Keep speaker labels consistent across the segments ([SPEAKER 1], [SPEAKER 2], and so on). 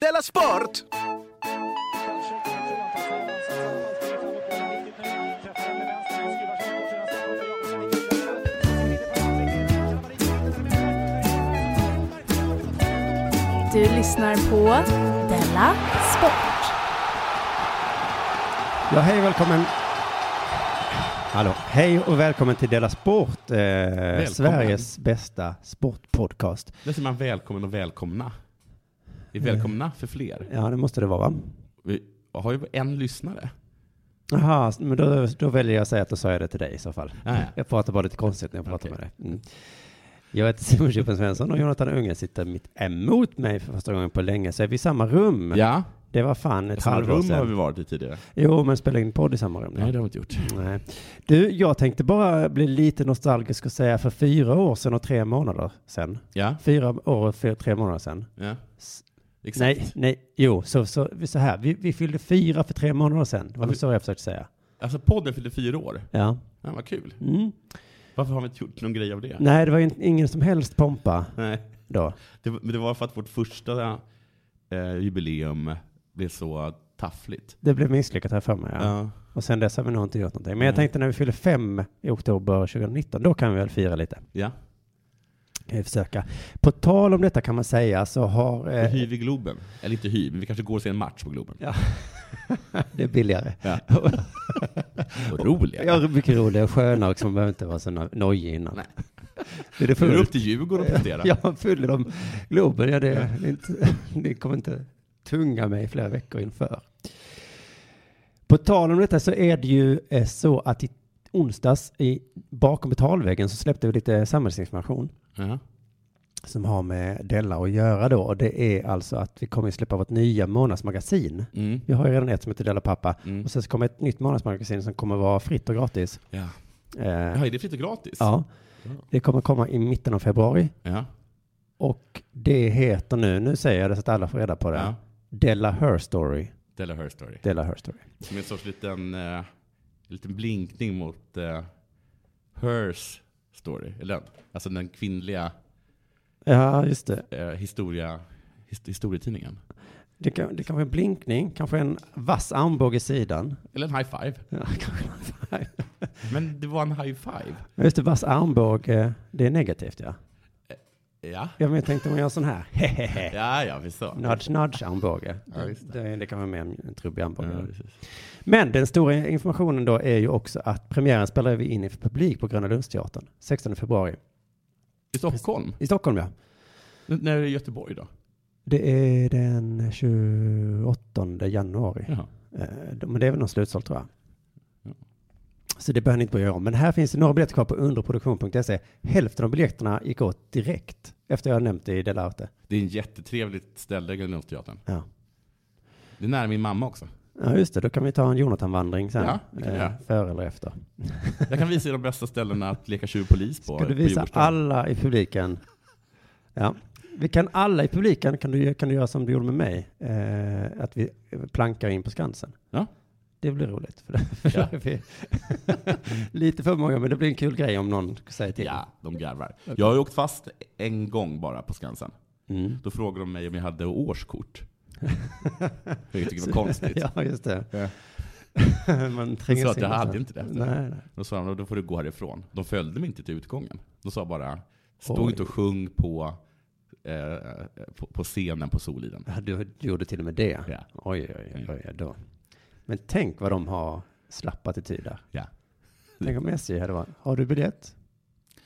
[SPEAKER 1] Della Sport!
[SPEAKER 2] Du lyssnar på Della Sport.
[SPEAKER 3] Ja, hej och välkommen. Hallå. Hej och välkommen till Della Sport, eh, Sveriges bästa sportpodcast.
[SPEAKER 4] Där säger man välkommen och välkomna. Det är välkomna för fler.
[SPEAKER 3] Ja, det måste det vara. va?
[SPEAKER 4] Vi har ju en lyssnare.
[SPEAKER 3] Jaha, men då, då väljer jag att säga att då sa jag det till dig i så fall.
[SPEAKER 4] Ah, ja.
[SPEAKER 3] Jag pratar bara lite konstigt när jag pratar
[SPEAKER 4] Okej.
[SPEAKER 3] med dig. Mm. Jag heter Simon Chippen Svensson och Jonathan Unge sitter mitt emot mig för första gången på länge, så är vi i samma rum.
[SPEAKER 4] Ja,
[SPEAKER 3] Det var fan ett
[SPEAKER 4] samma
[SPEAKER 3] halvår
[SPEAKER 4] rum har
[SPEAKER 3] sedan.
[SPEAKER 4] vi varit i tidigare.
[SPEAKER 3] Jo, men spelar in podd i samma rum.
[SPEAKER 4] Nej, det har vi inte gjort.
[SPEAKER 3] Nej. Du, jag tänkte bara bli lite nostalgisk och säga för fyra år sedan och tre månader sedan.
[SPEAKER 4] Ja,
[SPEAKER 3] Fyra år och fyra, tre månader sedan.
[SPEAKER 4] ja.
[SPEAKER 3] S-
[SPEAKER 4] Exakt.
[SPEAKER 3] Nej, nej, jo, så, så, så här, vi, vi fyllde fyra för tre månader sedan. Det var
[SPEAKER 4] Ja,
[SPEAKER 3] väl
[SPEAKER 4] vi-
[SPEAKER 3] så jag försökte säga.
[SPEAKER 4] Alltså podden fyllde fyra år.
[SPEAKER 3] Ja.
[SPEAKER 4] Ja, vad kul.
[SPEAKER 3] Mm.
[SPEAKER 4] Varför har vi inte gjort någon grej av det?
[SPEAKER 3] Nej, det var ju ingen som helst pompa
[SPEAKER 4] Nej.
[SPEAKER 3] då.
[SPEAKER 4] Det, var- men det var för att vårt första eh, jubileum blev så taffligt.
[SPEAKER 3] Det blev misslyckat här för mig. Ja.
[SPEAKER 4] Ja.
[SPEAKER 3] Och sen dess har vi nog inte gjort någonting. Men jag
[SPEAKER 4] Nej.
[SPEAKER 3] tänkte när vi fyller fem i oktober 2019, då kan vi väl fira lite.
[SPEAKER 4] ja.
[SPEAKER 3] Kan vi försöka. På tal om detta kan man säga så har...
[SPEAKER 4] Vi
[SPEAKER 3] eh,
[SPEAKER 4] hyr vi Globen. Eller inte hyr, men vi kanske går och ser en match på Globen.
[SPEAKER 3] Ja. det är billigare.
[SPEAKER 4] Ja. Vad roliga.
[SPEAKER 3] Jag är mycket roligare och skönare också. Man behöver inte vara så no- nojig innan.
[SPEAKER 4] Nej.
[SPEAKER 3] Det är det
[SPEAKER 4] Går
[SPEAKER 3] fullt.
[SPEAKER 4] upp till Djurgården och prestera.
[SPEAKER 3] Ja, man fyller de Globen. Ja, det, det är inte, ni kommer inte tunga mig flera veckor inför. På tal om detta så är det ju eh, så att i onsdags i, bakom betalväggen så släppte vi lite samhällsinformation
[SPEAKER 4] Ja.
[SPEAKER 3] som har med Della att göra då. Och det är alltså att vi kommer släppa vårt nya månadsmagasin.
[SPEAKER 4] Mm.
[SPEAKER 3] Vi har ju redan ett som heter Della Pappa.
[SPEAKER 4] Mm.
[SPEAKER 3] Och sen så kommer ett nytt månadsmagasin som kommer vara fritt och gratis.
[SPEAKER 4] Ja.
[SPEAKER 3] Eh,
[SPEAKER 4] Ja, är det fritt och gratis?
[SPEAKER 3] ja, det kommer komma i mitten av februari.
[SPEAKER 4] Ja.
[SPEAKER 3] Och det heter nu, nu säger jag det så att alla får reda på det.
[SPEAKER 4] ja.
[SPEAKER 3] Della Her Story.
[SPEAKER 4] Della Her Story.
[SPEAKER 3] Della Her Story.
[SPEAKER 4] Som en sorts liten, eh, liten blinkning mot eh, Hers Story. Eller den, alltså den kvinnliga
[SPEAKER 3] Ja, just det.
[SPEAKER 4] eh, historia, his, historietidningen.
[SPEAKER 3] Det kan, det kan vara en blinkning, kanske en vass armbåge i sidan.
[SPEAKER 4] Eller en high five.
[SPEAKER 3] Ja, kanske.
[SPEAKER 4] Men det var en high five.
[SPEAKER 3] Ja, just det, vass armbåge, det är negativt ja.
[SPEAKER 4] Ja,
[SPEAKER 3] Ja, men jag tänkte om jag gör sån här, hehehe.
[SPEAKER 4] ja, ja visst så.
[SPEAKER 3] Nudge, nudge armbåge.
[SPEAKER 4] Ja, just
[SPEAKER 3] det, det kan vara mer en trubbig armbåge.
[SPEAKER 4] Ja, precis.
[SPEAKER 3] Men den stora informationen då är ju också att premiären spelar vi in i för publik på Gröna Lundsteatern 16 februari.
[SPEAKER 4] I Stockholm?
[SPEAKER 3] I Stockholm ja.
[SPEAKER 4] N- När är det Göteborg då?
[SPEAKER 3] Det är den 28 januari.
[SPEAKER 4] Jaha.
[SPEAKER 3] Eh, de- Men det är väl någon slutsåld tror jag.
[SPEAKER 4] Ja.
[SPEAKER 3] Så det börjar ni inte börja om. Men här finns det några biljetter kvar på underproduktion.se. Hälften av biljetterna gick åt direkt efter jag har nämnt det i Dela Arte.
[SPEAKER 4] Det är en jättetrevligt ställe, Grönlundsteatern.
[SPEAKER 3] Ja.
[SPEAKER 4] Det är nära min mamma också.
[SPEAKER 3] ja, just det. Då kan vi ta en Jonathan-vandring sen. Eh,
[SPEAKER 4] Ja, det kan vi göra.
[SPEAKER 3] före eller efter.
[SPEAKER 4] Jag kan visa er de bästa ställena att leka tjuv och polis på.
[SPEAKER 3] Ska
[SPEAKER 4] på
[SPEAKER 3] du visa
[SPEAKER 4] Djurgårdsstaden.
[SPEAKER 3] alla i publiken? Ja. Vi kan alla i publiken, kan du, kan du göra som du gjorde med mig, eh, att vi plankar in på Skansen.
[SPEAKER 4] Ja.
[SPEAKER 3] Det blir roligt. För det, för
[SPEAKER 4] Ja.
[SPEAKER 3] då är vi lite för många, men det blir en kul grej om någon säger till.
[SPEAKER 4] Ja, de garvar. Jag har ju åkt fast en gång bara på Skansen.
[SPEAKER 3] Mm.
[SPEAKER 4] Då frågade de mig om jag hade årskort. Vilket jag tycker var konstigt.
[SPEAKER 3] ja, just det.
[SPEAKER 4] Ja.
[SPEAKER 3] Man
[SPEAKER 4] Jag
[SPEAKER 3] tränger
[SPEAKER 4] sa att
[SPEAKER 3] sig
[SPEAKER 4] jag
[SPEAKER 3] in
[SPEAKER 4] hade
[SPEAKER 3] så.
[SPEAKER 4] inte det.
[SPEAKER 3] Nej, nej.
[SPEAKER 4] Då sa de, då får du gå härifrån. De följde mig inte till utgången. De sa bara, stå
[SPEAKER 3] Oj.
[SPEAKER 4] inte och sjung på, eh, på, på scenen på Soliden.
[SPEAKER 3] Ja, du gjorde till och med det.
[SPEAKER 4] Ja.
[SPEAKER 3] Oj, oj, oj, oj, då. Men tänk vad de har slapp attityd där.
[SPEAKER 4] Ja.
[SPEAKER 3] Tänk om SJ hade varit, har du biljett?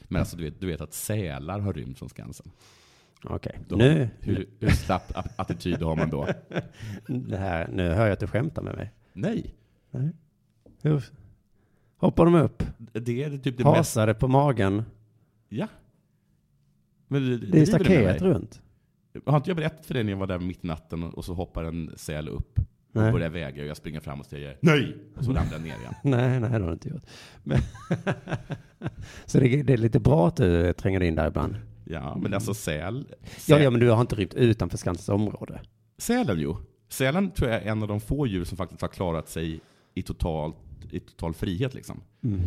[SPEAKER 4] Men alltså, du, vet, du vet att sälar har rymt från Skansen.
[SPEAKER 3] Okej,
[SPEAKER 4] Då-
[SPEAKER 3] nu,
[SPEAKER 4] Hur, hur slapp a- attityd har man då?
[SPEAKER 3] det här, nu hör jag att du skämtar med mig.
[SPEAKER 4] Nej,
[SPEAKER 3] Hur hoppar de upp?
[SPEAKER 4] det är typ det mest...
[SPEAKER 3] Hasade på magen.
[SPEAKER 4] Ja. Men det,
[SPEAKER 3] Det
[SPEAKER 4] driver
[SPEAKER 3] är
[SPEAKER 4] du med mig?
[SPEAKER 3] staket runt.
[SPEAKER 4] Har inte jag berättat för dig när jag var där mitt i natten och så hoppar en säl upp och
[SPEAKER 3] Nej,
[SPEAKER 4] börjar väga och jag springer fram och säger nej! Och så ramlar den ner igen.
[SPEAKER 3] nej, nej det har du inte gjort. Men så det, det är lite bra att du tränger in där ibland.
[SPEAKER 4] Ja, men alltså säl...
[SPEAKER 3] Ja,
[SPEAKER 4] säl
[SPEAKER 3] ja, men du har inte rymt utanför Skansens område.
[SPEAKER 4] Sälen ju. Sälen tror jag är en av de få djur som faktiskt har klarat sig i, totalt,
[SPEAKER 3] Mhm. Mm.
[SPEAKER 4] i total frihet. Liksom.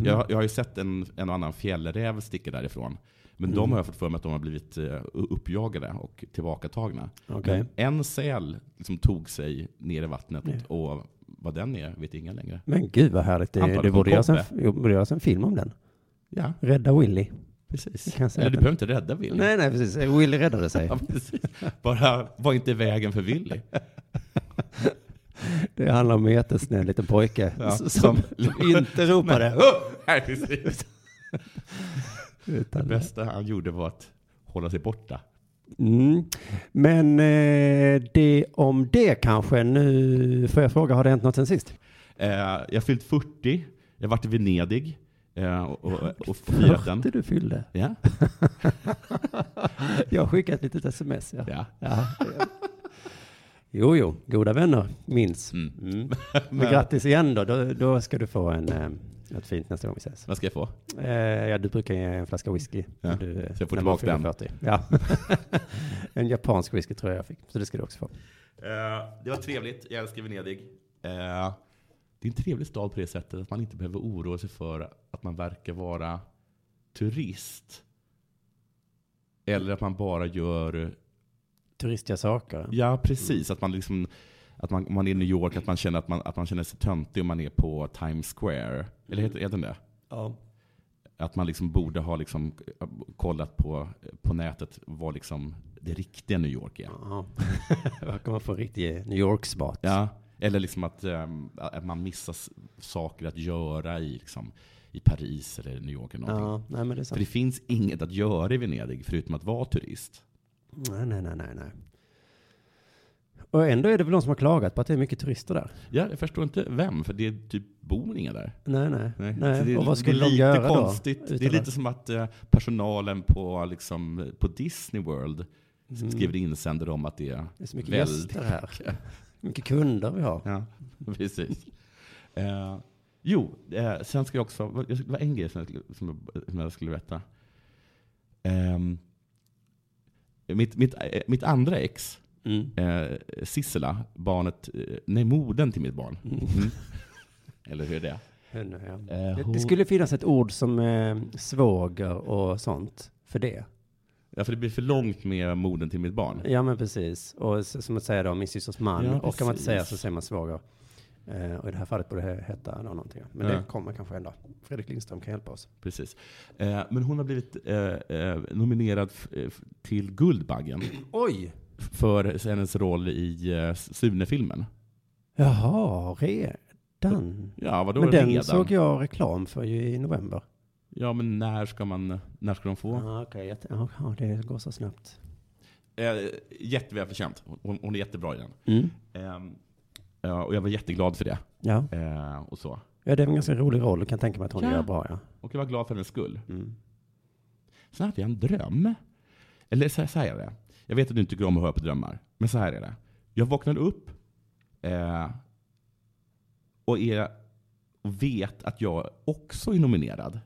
[SPEAKER 4] Jag, jag har ju sett en, en och annan fjällräv sticka därifrån. Men
[SPEAKER 3] Mm.
[SPEAKER 4] de har jag fått för mig att de har blivit eh, uppjagade och tillbakatagna.
[SPEAKER 3] Okej.
[SPEAKER 4] Men En säl liksom tog sig ner i vattnet
[SPEAKER 3] Ja.
[SPEAKER 4] och vad den är vet ingen längre.
[SPEAKER 3] Men gud vad härligt. Det,
[SPEAKER 4] Antalet
[SPEAKER 3] det borde
[SPEAKER 4] från
[SPEAKER 3] göras en,
[SPEAKER 4] Kobbe.
[SPEAKER 3] jo, borde göras en film om den.
[SPEAKER 4] Ja,
[SPEAKER 3] Rädda Willy.
[SPEAKER 4] precis.
[SPEAKER 3] Jag kan säga
[SPEAKER 4] Eller du
[SPEAKER 3] att-
[SPEAKER 4] behöver inte rädda Willy.
[SPEAKER 3] Nej, nej, precis. Willy räddade sig.
[SPEAKER 4] Ja, precis. Bara var inte i vägen för Willy.
[SPEAKER 3] Det handlar om en jättesnäll liten pojke
[SPEAKER 4] Ja,
[SPEAKER 3] som, som
[SPEAKER 4] som-
[SPEAKER 3] inte ropade.
[SPEAKER 4] Nej, precis. Det
[SPEAKER 3] Utan,
[SPEAKER 4] bästa han gjorde var att hålla sig borta.
[SPEAKER 3] mm. Men eh, det om det kanske. Nu får jag fråga, har det hänt något sen sist?
[SPEAKER 4] Eh, jag har fyllt 40, jag har varit i Venedig eh, och, och, och firat den.
[SPEAKER 3] Hörde du fyllde.
[SPEAKER 4] Ja,
[SPEAKER 3] Jag har skickat ett litet sms. Ja.
[SPEAKER 4] ja.
[SPEAKER 3] Ja. Jo, jo, goda vänner minns.
[SPEAKER 4] Mm.
[SPEAKER 3] Mm. Men grattis igen då. då. Då ska du få en, eh, ett fint nästa gång vi ses.
[SPEAKER 4] Vad ska jag få?
[SPEAKER 3] Eh, ja, du brukar ge en flaska whisky.
[SPEAKER 4] Ja,
[SPEAKER 3] Du,
[SPEAKER 4] så jag får
[SPEAKER 3] när man
[SPEAKER 4] tillbaka
[SPEAKER 3] fyller 40. Ja. en japansk whisky tror jag jag fick. Så det ska du också få.
[SPEAKER 4] Eh, det var trevligt, jag älskar Venedig. Eh, det är en trevlig stad på det sättet att man inte behöver oroa sig för att man verkar vara turist. Eller att man bara gör
[SPEAKER 3] Turistiga saker.
[SPEAKER 4] Ja, precis. Att man liksom att man, om man är i New York, att man känner, att man, att man känner sig töntig om man är på Times Square. Eller heter, heter den det?
[SPEAKER 3] Ja.
[SPEAKER 4] Att man liksom borde ha liksom kollat på, eh, på nätet vad liksom det riktiga New York är.
[SPEAKER 3] ja. Verkar man få en riktig New York-spat.
[SPEAKER 4] Ja. Eller liksom att, ehm, att man missar s- saker att göra i, liksom, i Paris eller New York. Eller någonting.
[SPEAKER 3] Ja, nej men det är
[SPEAKER 4] För
[SPEAKER 3] sant.
[SPEAKER 4] det finns inget att göra i Venedig förutom att vara turist.
[SPEAKER 3] Nej, nej, nej, nej, nej. Och ändå är det väl de som har klagat på att det är mycket turister där.
[SPEAKER 4] Ja, jag förstår inte vem, för det är typ bor inga där.
[SPEAKER 3] Nej, nej. nej.
[SPEAKER 4] Nej. Så Det är,
[SPEAKER 3] och vad
[SPEAKER 4] det
[SPEAKER 3] skulle
[SPEAKER 4] är
[SPEAKER 3] de
[SPEAKER 4] lite
[SPEAKER 3] göra
[SPEAKER 4] konstigt.
[SPEAKER 3] då?
[SPEAKER 4] Det är lite som att eh, personalen på, liksom, på Disney World
[SPEAKER 3] Mm.
[SPEAKER 4] skriver insändare om att det är...
[SPEAKER 3] Det är så mycket
[SPEAKER 4] väldigt
[SPEAKER 3] gäster här. Mycket kunder vi har.
[SPEAKER 4] Ja, precis. Eh, jo, eh, sen ska jag också... jag skulle- Det var en grej som jag skulle, som jag, som jag skulle berätta. Ehm, mitt, mitt, eh, mitt andra ex,
[SPEAKER 3] Mm.
[SPEAKER 4] eh, Sissela, barnet... eh, Nej, modern till mitt barn.
[SPEAKER 3] Mm.
[SPEAKER 4] Mm. Eller hur är det?
[SPEAKER 3] Henne, ja.
[SPEAKER 4] Eh,
[SPEAKER 3] Det,
[SPEAKER 4] hon-
[SPEAKER 3] det skulle finnas ett ord som eh, svåger och sånt för det.
[SPEAKER 4] Ja, för det blir för långt med modern till mitt barn.
[SPEAKER 3] Ja, men precis. Och s- som att säga då, min systers man.
[SPEAKER 4] Ja,
[SPEAKER 3] och kan man inte
[SPEAKER 4] precis.
[SPEAKER 3] säga så säger man svåger. Eh, och i det här fallet borde det heta då någonting. Men
[SPEAKER 4] Ja.
[SPEAKER 3] det kommer kanske en dag. Fredrik Lindström kan hjälpa oss.
[SPEAKER 4] Precis. Eh, men hon har blivit eh, eh, nominerad f- eh, f- till Guldbaggen
[SPEAKER 3] Oj!
[SPEAKER 4] för hennes roll i eh, Sune-filmen.
[SPEAKER 3] Jaha, redan.
[SPEAKER 4] Ja, vadå
[SPEAKER 3] men den
[SPEAKER 4] redan?
[SPEAKER 3] såg jag reklam för ju i november.
[SPEAKER 4] Ja, men när ska, man, när ska de få?
[SPEAKER 3] Ah, okay. jätte- Jaha, det går så snabbt.
[SPEAKER 4] Eh, jättevälförtjänt. Hon, hon är jättebra i den.
[SPEAKER 3] Mm.
[SPEAKER 4] Ehm, ja, och jag var jätteglad för det.
[SPEAKER 3] Ja.
[SPEAKER 4] Eh, och så.
[SPEAKER 3] ja, det är en ganska rolig roll. Jag kan tänka mig att hon
[SPEAKER 4] Ja.
[SPEAKER 3] gör bra. Ja.
[SPEAKER 4] Och jag var glad för hennes skull.
[SPEAKER 3] Mm.
[SPEAKER 4] Sen hade jag en dröm. Eller så här, så här är det. Jag vet att du inte tycker om att höra på drömmar. Men så här är det. Jag vaknade upp eh, och, är, och vet att jag också är nominerad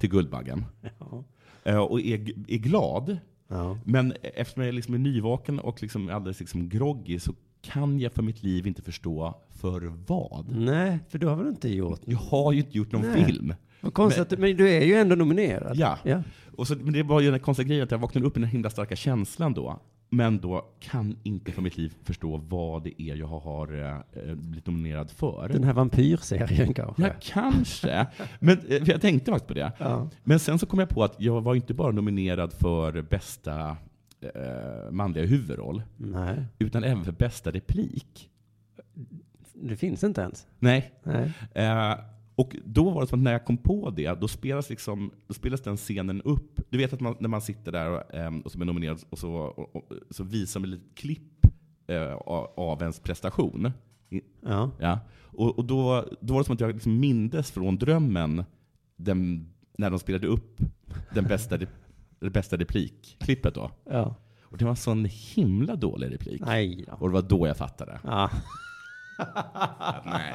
[SPEAKER 4] till Guldbaggen.
[SPEAKER 3] Ja.
[SPEAKER 4] Eh, och är, g- är glad.
[SPEAKER 3] Ja.
[SPEAKER 4] Men eftersom jag liksom är nyvaken och liksom alldeles liksom groggy så kan jag för mitt liv inte förstå för vad.
[SPEAKER 3] Nej, för du har väl inte gjort
[SPEAKER 4] Jag har ju inte gjort någon
[SPEAKER 3] Nej.
[SPEAKER 4] film.
[SPEAKER 3] Vad konstigt, men,
[SPEAKER 4] Men-
[SPEAKER 3] att, du- men du är ju ändå nominerad.
[SPEAKER 4] Ja.
[SPEAKER 3] ja.
[SPEAKER 4] Och så, men det var ju den här konstiga grejen att jag vaknade upp i den här himla starka känslan då. Men då kan inte för mitt liv förstå vad det är jag har eh, eh, blivit nominerad för.
[SPEAKER 3] Den här vampyrserien kanske.
[SPEAKER 4] Ja, kanske. Men eh, för jag tänkte faktiskt på det.
[SPEAKER 3] Ja.
[SPEAKER 4] Men sen så kom jag på att jag var inte bara nominerad för bästa eh, manliga huvudroll,
[SPEAKER 3] Nej,
[SPEAKER 4] utan även för bästa replik.
[SPEAKER 3] det finns inte ens.
[SPEAKER 4] Nej.
[SPEAKER 3] Nej.
[SPEAKER 4] Eh, och då var det som att när jag kom på det, då spelas, liksom, då spelas den scenen upp. Du vet att man, när man sitter där och, ehm, och som är nominerad och så, och, och, så visar man ett litet klipp eh, av, av ens prestation.
[SPEAKER 3] Ja.
[SPEAKER 4] Ja. Och, och då, då var det som att jag liksom mindes från drömmen den, när de spelade upp den bästa, re- det bästa replikklippet då.
[SPEAKER 3] ja.
[SPEAKER 4] Och det var en sån himla dålig replik.
[SPEAKER 3] Nej Ah. då.
[SPEAKER 4] Och det var då jag fattade.
[SPEAKER 3] Ja.
[SPEAKER 4] Nej.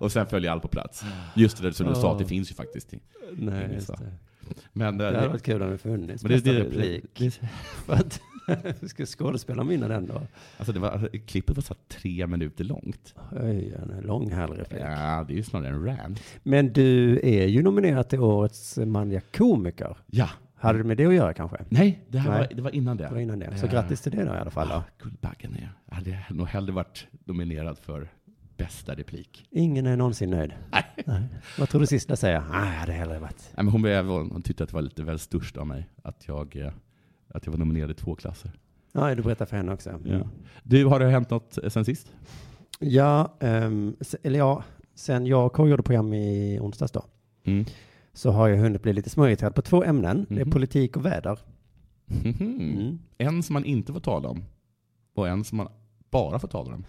[SPEAKER 4] och sen följer allt på plats. Just det där som du sa, att det
[SPEAKER 3] Ja.
[SPEAKER 4] finns ju faktiskt.
[SPEAKER 3] Nej,
[SPEAKER 4] Det är
[SPEAKER 3] just
[SPEAKER 4] så.
[SPEAKER 3] det.
[SPEAKER 4] Men, eh,
[SPEAKER 3] Det hade varit kul om det funnits.
[SPEAKER 4] men det,
[SPEAKER 3] Bästa
[SPEAKER 4] det,
[SPEAKER 3] replik.
[SPEAKER 4] det,
[SPEAKER 3] För att Ska skådespelaren vinna den då?
[SPEAKER 4] Alltså, det var, alltså klippet var så här tre minuter långt.
[SPEAKER 3] Oj, en lång härlig replik.
[SPEAKER 4] Ja, det är ju snarare en rant.
[SPEAKER 3] Men du är ju nominerad till årets manliga komiker.
[SPEAKER 4] Ja.
[SPEAKER 3] Hade det med det att göra kanske?
[SPEAKER 4] Nej, det, här
[SPEAKER 3] Nej.
[SPEAKER 4] Var, det var innan det.
[SPEAKER 3] Det var innan det. Så
[SPEAKER 4] Ja.
[SPEAKER 3] grattis till det då i alla fall. Då.
[SPEAKER 4] Ah, Guldbaggen är jag. hade nog hellre varit nominerad för bästa replik.
[SPEAKER 3] Ingen är någonsin nöjd.
[SPEAKER 4] Nej.
[SPEAKER 3] Nej. Vad tror du sista säger? Nej, jag hade hellre varit.
[SPEAKER 4] Nej, men hon, blev, hon tyckte att det var lite väl störst av mig att jag, eh, att jag var nominerad i två klasser.
[SPEAKER 3] Ja, du berättar för henne också. Mm.
[SPEAKER 4] Du, har det hänt något eh, sen sist?
[SPEAKER 3] Ja, ehm, se- eller ja, sen jag och K gjorde program i onsdags då,
[SPEAKER 4] Mm.
[SPEAKER 3] så har jag hunnit bli lite smörjträd på två ämnen. Det är
[SPEAKER 4] Mhm.
[SPEAKER 3] politik och väder.
[SPEAKER 4] Mhm.
[SPEAKER 3] Mm.
[SPEAKER 4] En som man inte får tala om och en som man bara får tala om.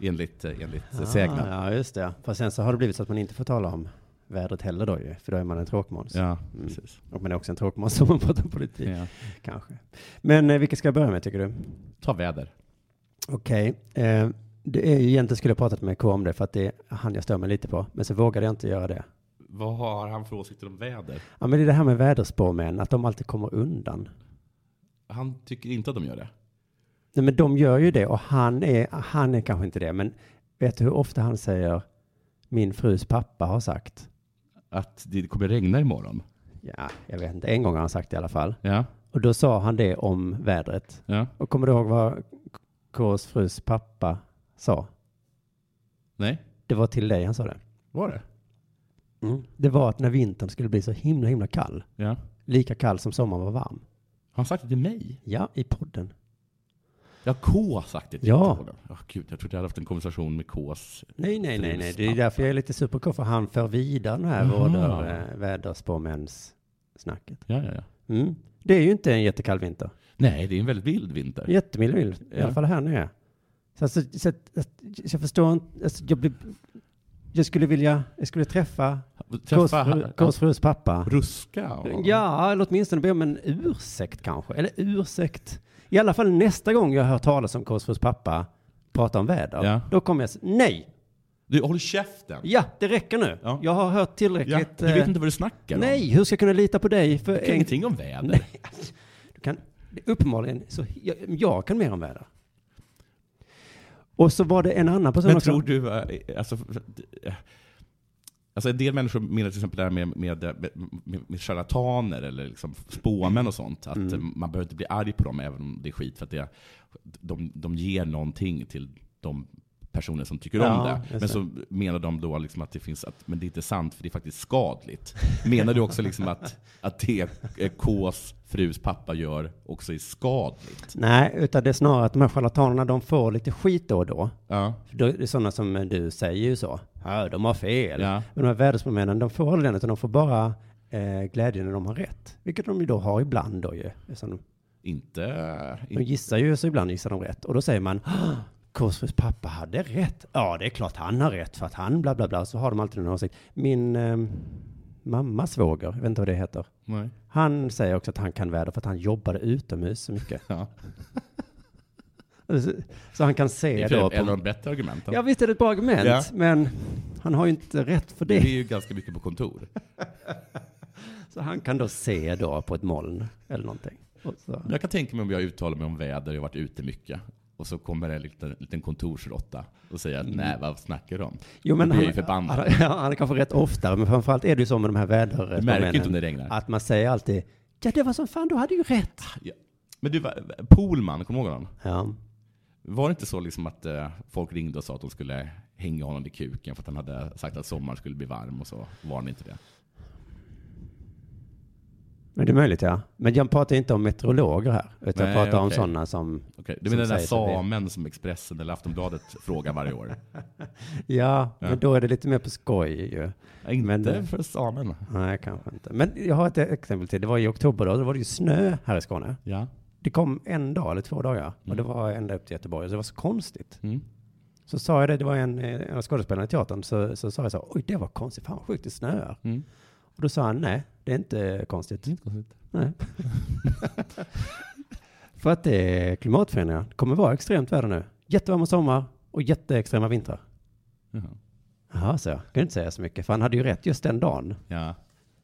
[SPEAKER 4] Enligt, eh, enligt ah,
[SPEAKER 3] Ah,
[SPEAKER 4] sägnen.
[SPEAKER 3] ja, just det. Fast sen så har det blivit så att man inte får tala om vädret heller då ju, för då är man en tråkmåns.
[SPEAKER 4] Ja,
[SPEAKER 3] Mm.
[SPEAKER 4] precis.
[SPEAKER 3] Och man är också en tråkmåns om man pratar om politik,
[SPEAKER 4] Ja.
[SPEAKER 3] kanske. Men eh, vilka ska jag börja med, tycker du?
[SPEAKER 4] Ta väder.
[SPEAKER 3] Okej, eh, det är ju egentligen skulle jag pratat med K om det, för att det är han jag stör mig lite på, men så vågade jag inte göra det.
[SPEAKER 4] Vad har han för åsikter om väder?
[SPEAKER 3] Ja, men det är det här med väderspåmän, att de alltid kommer undan.
[SPEAKER 4] Han tycker inte att de gör det.
[SPEAKER 3] Nej, men de gör ju det och han är, han är kanske inte det, men vet du hur ofta han säger min frus pappa har sagt?
[SPEAKER 4] Att det kommer regna imorgon.
[SPEAKER 3] Ja, jag vet inte. En gång har han sagt det i alla fall.
[SPEAKER 4] Ja,
[SPEAKER 3] Och då sa han det om vädret.
[SPEAKER 4] ja.
[SPEAKER 3] Och kommer du ihåg vad Ks frus pappa sa?
[SPEAKER 4] Nej,
[SPEAKER 3] Det var till dig han sa det.
[SPEAKER 4] var det?
[SPEAKER 3] Det var att när vintern skulle bli så himla, himla kall,
[SPEAKER 4] Ja.
[SPEAKER 3] lika kall som sommaren var varm.
[SPEAKER 4] Har han sagt det till mig?
[SPEAKER 3] Ja, i podden.
[SPEAKER 4] Ja, K har sagt det till
[SPEAKER 3] Ja.
[SPEAKER 4] mig. Ja, gud, jag trodde jag hade haft en konversation med Ks.
[SPEAKER 3] Nej, nej, nej, nej. Det är
[SPEAKER 4] Fruspappa.
[SPEAKER 3] därför jag är lite superk för han för vidare den här
[SPEAKER 4] Jaha.
[SPEAKER 3] vårdar, eh, väderspåmäns snacket.
[SPEAKER 4] Ja, ja, ja.
[SPEAKER 3] Mm. Det är ju inte en jättekall vinter.
[SPEAKER 4] Nej, det är en väldigt vild vinter.
[SPEAKER 3] Jättemild vill, i
[SPEAKER 4] Ja.
[SPEAKER 3] alla fall här nere. Så, alltså, så, att- så, att- jag förstår inte, alltså, jag, blir, jag skulle vilja, jag skulle träffa Kås fru-
[SPEAKER 4] Träffa
[SPEAKER 3] Kås frus pappa.
[SPEAKER 4] ruska och...
[SPEAKER 3] Ja, eller åtminstone be om en ursäkt kanske, eller ursäkt. I alla fall nästa gång jag hör talas om Kås frus pappa prata om väder,
[SPEAKER 4] Ja.
[SPEAKER 3] då kommer jag säga nej,
[SPEAKER 4] Du, håll käften!
[SPEAKER 3] ja, det räcker nu.
[SPEAKER 4] Ja.
[SPEAKER 3] Jag har hört
[SPEAKER 4] Ja,
[SPEAKER 3] tillräckligt.
[SPEAKER 4] du vet
[SPEAKER 3] eh,
[SPEAKER 4] inte vad du snackar om.
[SPEAKER 3] nej, hur ska jag kunna lita på dig? För
[SPEAKER 4] Du kan
[SPEAKER 3] en,
[SPEAKER 4] ingenting om väder.
[SPEAKER 3] Nej. Du kan, uppenbarligen, så, jag, jag kan mer om väder. Och så var det en annan person
[SPEAKER 4] Men
[SPEAKER 3] också.
[SPEAKER 4] tror du, eh, alltså, eh, alltså en del människor menar till exempel det här med, med, eh, med, med charlataner eller liksom spåmän och sånt, att eh,
[SPEAKER 3] Mm.
[SPEAKER 4] man behöver inte bli arg på dem även om det är skit, för att det, de, de ger någonting till de personer som tycker
[SPEAKER 3] Ja,
[SPEAKER 4] om
[SPEAKER 3] just
[SPEAKER 4] det.
[SPEAKER 3] det.
[SPEAKER 4] Men så menar de då liksom att det finns, att, men det är inte sant för det är faktiskt skadligt. Menar du också liksom att, att det eh, Ks frus pappa gör också är skadligt?
[SPEAKER 3] Nej, utan det är snarare att de här charlatanerna, de får lite skit då och då.
[SPEAKER 4] Ja.
[SPEAKER 3] För då är det sådana som du säger ju så. Ja, de har fel.
[SPEAKER 4] Ja.
[SPEAKER 3] Men de här väderspåmännen, de får aldrig den, utan de får bara eh, glädje när de har rätt. Vilket de ju då har ibland då ju. Eftersom de,
[SPEAKER 4] Inte...
[SPEAKER 3] de gissar ju, så ibland gissar de rätt. Och då säger man, "Ah, Korsfrus pappa hade rätt. Ja, det är klart han har rätt för att han bla bla bla. Så har de alltid en åsikt. Min eh, mammas svåger, jag vet inte vad det heter.
[SPEAKER 4] Nej.
[SPEAKER 3] Han säger också att han kan väder för att han jobbade utomhus så mycket.
[SPEAKER 4] Ja.
[SPEAKER 3] Så, så han kan
[SPEAKER 4] Det
[SPEAKER 3] se
[SPEAKER 4] är
[SPEAKER 3] då.
[SPEAKER 4] ett av
[SPEAKER 3] På,
[SPEAKER 4] de bättre argumenten.
[SPEAKER 3] ja, visst är det ett bra argument,
[SPEAKER 4] Ja.
[SPEAKER 3] men han har ju inte rätt för
[SPEAKER 4] Det är
[SPEAKER 3] det.
[SPEAKER 4] ju ganska mycket på kontor.
[SPEAKER 3] Så han kan då se då på ett moln eller någonting. Och så.
[SPEAKER 4] Jag kan tänka mig om jag uttalar mig om väder, jag har varit ute mycket. Och så kommer det en liten, liten kontorsrotta och säger att nej, vad snackar du om?
[SPEAKER 3] Jo,
[SPEAKER 4] Då blir jag ju
[SPEAKER 3] han,
[SPEAKER 4] förbannad.
[SPEAKER 3] han, ja, han är kanske rätt oftare, men framförallt är det ju så med de här
[SPEAKER 4] Du märker ju inte om
[SPEAKER 3] vädermännen.
[SPEAKER 4] det regnar.
[SPEAKER 3] Att man säger alltid, ja det var som fan, du hade ju rätt.
[SPEAKER 4] Ja. Men du, va- Pohlman, kommer du ihåg honom?
[SPEAKER 3] Ja,
[SPEAKER 4] Var det inte så liksom att eh, folk ringde och sa att de skulle hänga honom i kuken för att han hade sagt att sommaren skulle bli varm och så var han inte det?
[SPEAKER 3] men det är möjligt ja. Men jag pratar inte om meteorologer här, utan
[SPEAKER 4] Nej,
[SPEAKER 3] jag pratar om
[SPEAKER 4] okej.
[SPEAKER 3] sådana som,
[SPEAKER 4] Okej, Du
[SPEAKER 3] Som
[SPEAKER 4] menar den där
[SPEAKER 3] säger som det är.
[SPEAKER 4] samen som Expressen eller Aftonbladet frågar varje år?
[SPEAKER 3] ja, men då är det lite mer på skoj ju.
[SPEAKER 4] Ja, Inte
[SPEAKER 3] Men eh, det-
[SPEAKER 4] för samen.
[SPEAKER 3] Nej, kanske inte. Men jag har ett exempel till. Det var i oktober då, då var det ju snö här i Skåne.
[SPEAKER 4] Ja.
[SPEAKER 3] Det kom en dag eller två dagar och
[SPEAKER 4] Mm.
[SPEAKER 3] det var ända upp till Göteborg. Så det var så konstigt.
[SPEAKER 4] Mm.
[SPEAKER 3] Så sa jag det, det var en, eh, en av skådespelarna i teatern, så, så sa jag så, oj det var konstigt, fan vad sjukt det snöar.
[SPEAKER 4] Mm.
[SPEAKER 3] Och då sa han, nej det är inte konstigt. Nej. För att det är klimatförändringar, det kommer vara extremt väder nu. Jättevarma sommar och jätteextrema vintrar.
[SPEAKER 4] Jaha.
[SPEAKER 3] Jaha, så jag. Kunde inte säga så mycket, för han hade ju rätt just den dagen.
[SPEAKER 4] Ja.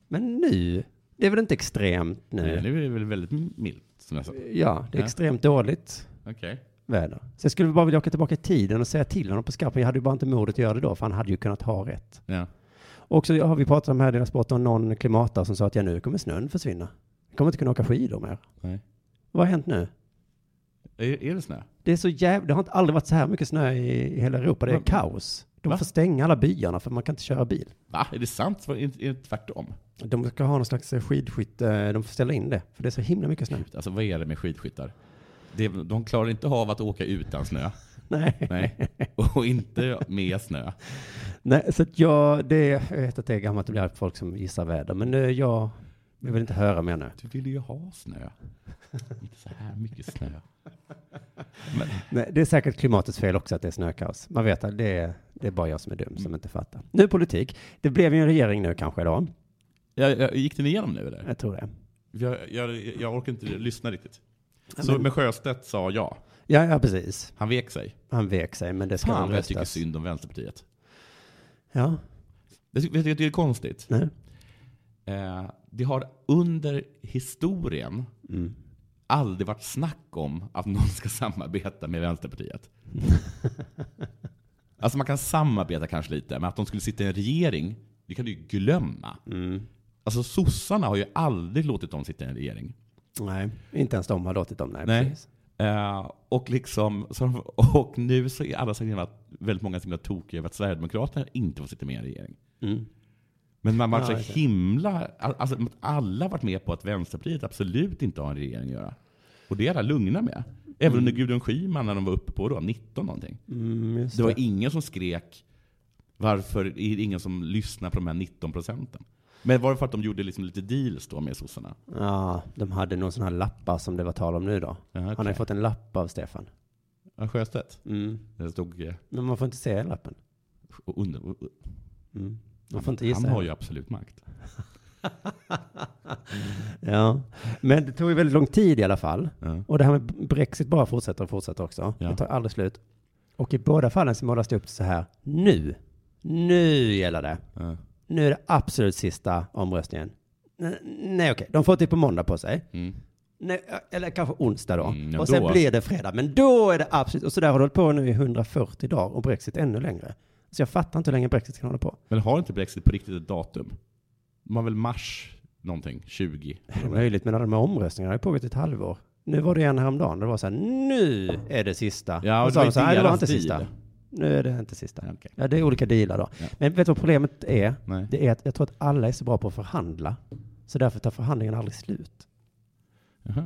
[SPEAKER 3] Men nu, det är väl inte extremt nu?
[SPEAKER 4] Nej, nu är det väl väldigt milt. som jag sa.
[SPEAKER 3] Ja, det är
[SPEAKER 4] Ja.
[SPEAKER 3] extremt dåligt
[SPEAKER 4] Okej.
[SPEAKER 3] väder. Så jag skulle bara vilja åka tillbaka i tiden och säga till honom på skarpen. Jag hade ju bara inte modet att göra det då, för han hade ju kunnat ha rätt.
[SPEAKER 4] Ja.
[SPEAKER 3] Och så har vi pratat om här i sporten om någon klimatare som sa att ja, nu kommer snön försvinna. Jag kommer inte kunna åka skidor mer.
[SPEAKER 4] Nej.
[SPEAKER 3] Vad har hänt nu?
[SPEAKER 4] Är, är det snö?
[SPEAKER 3] Det är så jävla, det har inte aldrig varit så här mycket snö i i hela Europa. Det är
[SPEAKER 4] Va?
[SPEAKER 3] kaos. De
[SPEAKER 4] Va?
[SPEAKER 3] får stänga alla byarna för man kan inte köra bil.
[SPEAKER 4] Va? Är det sant? Var- Är det, är det tvärtom?
[SPEAKER 3] De ska ha någon slags eh, skidskytte, de får ställa in det, för det är så himla mycket snö.
[SPEAKER 4] Alltså vad är det med skidskyttar? Det, de klarar inte av att åka utan snö.
[SPEAKER 3] Nej,
[SPEAKER 4] Nej. Och inte med snö.
[SPEAKER 3] Nej så att jag, det, jag vet att det är gammalt att bli arg på folk som gissar väder, men eh, jag jag vill inte höra mer nu.
[SPEAKER 4] Du ville ju ha snö. Inte så här mycket snö. Men,
[SPEAKER 3] Nej, det är säkert klimatets fel också att det är snökaos. Man vet att det är, det är bara jag som är dum som inte fattar. Nu politik. Det blev ju en regering nu kanske då.
[SPEAKER 4] jag, jag, gick den igenom nu eller?
[SPEAKER 3] Jag tror det.
[SPEAKER 4] Jag, jag, jag orkar inte lyssna riktigt. Så
[SPEAKER 3] men-
[SPEAKER 4] med Sjöstedt sa ja.
[SPEAKER 3] Ja, ja, precis.
[SPEAKER 4] Han vek sig.
[SPEAKER 3] Han vek sig, men det ska
[SPEAKER 4] Fan
[SPEAKER 3] väl
[SPEAKER 4] vad jag tycker
[SPEAKER 3] röstas.
[SPEAKER 4] synd om Vänsterpartiet.
[SPEAKER 3] Ja,
[SPEAKER 4] Jag tycker, vet du, det är konstigt.
[SPEAKER 3] nej.
[SPEAKER 4] Eh, det har under historien
[SPEAKER 3] Mm.
[SPEAKER 4] aldrig varit snack om att någon ska samarbeta med Vänsterpartiet. alltså man kan samarbeta kanske lite, men att de skulle sitta i en regering, det kan du ju glömma.
[SPEAKER 3] Mm.
[SPEAKER 4] Alltså sossarna har ju aldrig låtit dem sitta i en regering.
[SPEAKER 3] Nej, inte ens de har låtit dem. Nej,
[SPEAKER 4] Nej.
[SPEAKER 3] precis.
[SPEAKER 4] Eh, och, liksom, så, de- och nu så är alla så himla, väldigt många så himla tokiga över att Sverigedemokraterna inte får sitta med i en regering.
[SPEAKER 3] Mm.
[SPEAKER 4] Men man var
[SPEAKER 3] Ja,
[SPEAKER 4] så
[SPEAKER 3] just det.
[SPEAKER 4] himla... Alltså, alla har varit med på att Vänsterpartiet absolut inte har en regering att göra. Och det är alla lugna med. Även under Gudrun Schyman när de var uppe på då, 19 någonting.
[SPEAKER 3] Mm, just
[SPEAKER 4] Det var
[SPEAKER 3] det.
[SPEAKER 4] ingen som skrek varför är det ingen som lyssnar på de här 19 procenten? Men var det för att de gjorde liksom lite deals då med sossarna?
[SPEAKER 3] Ja, de hade någon sån här lappar som det var tal om nu då.
[SPEAKER 4] Ja,
[SPEAKER 3] Han har
[SPEAKER 4] okej.
[SPEAKER 3] ju fått en lapp av Stefan.
[SPEAKER 4] Ja, Sjöstedt.
[SPEAKER 3] Mm.
[SPEAKER 4] Det stod eh,
[SPEAKER 3] Men man får inte se lappen.
[SPEAKER 4] under,
[SPEAKER 3] Mm. Man får inte gissa.
[SPEAKER 4] han har ju absolut makt.
[SPEAKER 3] Ja, men det tog ju väldigt lång tid i alla fall.
[SPEAKER 4] Ja.
[SPEAKER 3] Och det här med Brexit bara fortsätter och fortsätter också.
[SPEAKER 4] Ja.
[SPEAKER 3] Det tar aldrig slut. Och i båda fallen så målas det upp så här. Nu, nu gäller det.
[SPEAKER 4] Ja.
[SPEAKER 3] Nu är det absolut sista omröstningen. N- Nej, okej. De får typ på måndag på sig.
[SPEAKER 4] Mm.
[SPEAKER 3] Nej, eh, eller kanske onsdag då.
[SPEAKER 4] Mm, ja,
[SPEAKER 3] och sen
[SPEAKER 4] då.
[SPEAKER 3] blir det fredag. Men då är det absolut. Och så där har det hållit på nu i 140 dagar och Brexit ännu längre. Så jag fattar inte hur länge Brexit kan hålla på.
[SPEAKER 4] Men har inte Brexit på riktigt ett datum? De har väl mars någonting, 20?
[SPEAKER 3] Det är möjligt, men alla de här omröstningarna har ju pågått i ett halvår. Nu var det en häromdagen, det var så här, nu är det sista.
[SPEAKER 4] Ja, och
[SPEAKER 3] Och
[SPEAKER 4] det
[SPEAKER 3] så
[SPEAKER 4] var
[SPEAKER 3] de så här,
[SPEAKER 4] ju
[SPEAKER 3] "Nej, det var
[SPEAKER 4] deras
[SPEAKER 3] inte
[SPEAKER 4] deal."
[SPEAKER 3] sista. Nu är det inte sista.
[SPEAKER 4] Ja, okej.
[SPEAKER 3] Ja, det är olika dealar då.
[SPEAKER 4] Ja.
[SPEAKER 3] Men vet du vad problemet är?
[SPEAKER 4] Nej.
[SPEAKER 3] Det är att jag tror att alla är så bra på att förhandla, så därför tar förhandlingen aldrig slut.
[SPEAKER 4] Jaha,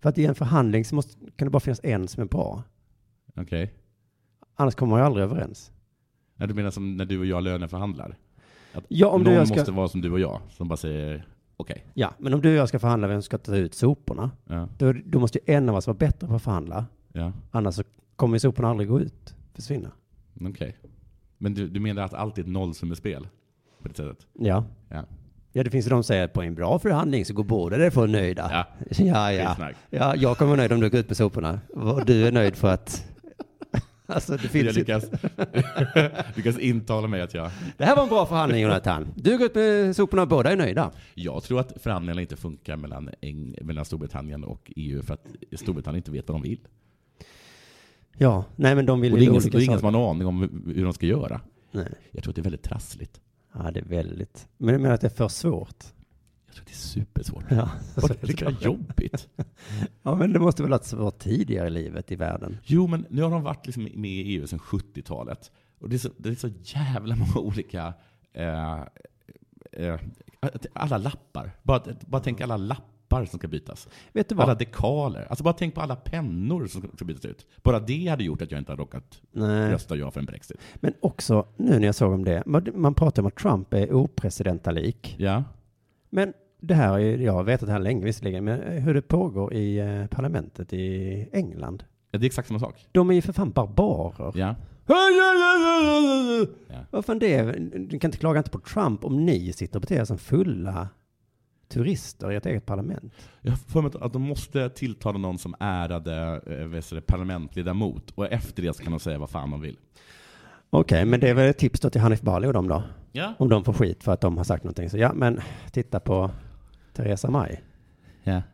[SPEAKER 3] För att i en förhandling så måste, kan det bara finnas en som är bra.
[SPEAKER 4] okej.
[SPEAKER 3] Annars kommer man ju aldrig överens.
[SPEAKER 4] Ja, Du menar som när du och jag löneförhandlar? Att
[SPEAKER 3] Ja, om
[SPEAKER 4] någon
[SPEAKER 3] du och jag ska-
[SPEAKER 4] måste vara som du och jag, som bara säger okej.
[SPEAKER 3] Ja, men om du och jag ska förhandla vem som ska ta ut soporna,
[SPEAKER 4] Ja,
[SPEAKER 3] då, då måste ju en av oss vara bättre på att förhandla.
[SPEAKER 4] ja,
[SPEAKER 3] Annars så kommer ju soporna aldrig gå ut, försvinna.
[SPEAKER 4] okej. Men du, du menar att allt är ett nollsummespel? På det sättet?
[SPEAKER 3] Ja.
[SPEAKER 4] Ja.
[SPEAKER 3] Ja, det finns ju de som säger att på en bra förhandling så går båda därifrån nöjda.
[SPEAKER 4] Ja.
[SPEAKER 3] ja,
[SPEAKER 4] Det är
[SPEAKER 3] Ah, ja.
[SPEAKER 4] snack.
[SPEAKER 3] ja jag kommer vara nöjd om du går ut med soporna. Och du är nöjd för att... Alltså, det
[SPEAKER 4] Jag
[SPEAKER 3] finns ju...
[SPEAKER 4] lyckas, lyckas intala mig att jag...
[SPEAKER 3] Det här var en bra förhandling, Jonathan. Du går ut med soporna och båda är nöjda.
[SPEAKER 4] Jag tror att förhandlingarna inte funkar mellan, Eng, mellan Storbritannien och EU för att Storbritannien inte vet vad de vill.
[SPEAKER 3] Ja, nej men de vill
[SPEAKER 4] Och det är
[SPEAKER 3] ju
[SPEAKER 4] ingen,
[SPEAKER 3] olika
[SPEAKER 4] det är ingen
[SPEAKER 3] saker.
[SPEAKER 4] som har en aning om hur- hur de ska göra.
[SPEAKER 3] Nej.
[SPEAKER 4] Jag tror att det är väldigt trassligt.
[SPEAKER 3] Ja, det är väldigt... Men du menar att det är för svårt?
[SPEAKER 4] Jag tror att det är supersvårt.
[SPEAKER 3] Ja.
[SPEAKER 4] Och det Alltså, är lika jobbigt.
[SPEAKER 3] ja, men det måste väl ha varit tidigare i livet i världen?
[SPEAKER 4] Jo, men nu har de varit liksom med i EU sedan 70-talet. Och det är så, det är så jävla många olika... Eh, eh, alla lappar. Bara, bara tänk alla lappar som ska bytas.
[SPEAKER 3] Vet du vad?
[SPEAKER 4] Alla dekaler. Alltså bara tänk på alla pennor som ska- ska bytas ut. Bara det hade gjort att jag inte hade råkat
[SPEAKER 3] Nej.
[SPEAKER 4] rösta ja för en Brexit.
[SPEAKER 3] Men också, nu när jag såg om det, man, man pratar om att Trump är opresidentalik.
[SPEAKER 4] Ja. har
[SPEAKER 3] Men det här är ju, jag har vetat det här länge visserligen, men eh, hur det pågår i eh, parlamentet i England.
[SPEAKER 4] Det är exakt samma sak.
[SPEAKER 3] De är ju för fan barbarer.
[SPEAKER 4] Ja. Ja.
[SPEAKER 3] Vad fan det är, du kan inte klaga inte på Trump om ni sitter och beter er som fulla turister i ett eget parlament.
[SPEAKER 4] Jag har för mig att de måste tilltala någon som ärade eh, vad heter det, parlamentledamot och efter det så kan de säga vad fan de vill.
[SPEAKER 3] Okej, men det är väl ett tips då till Hanif Bali och dem då?
[SPEAKER 4] Ja.
[SPEAKER 3] Om de får skit för att de har sagt någonting. Så ja, men titta på Theresa May.
[SPEAKER 4] ja.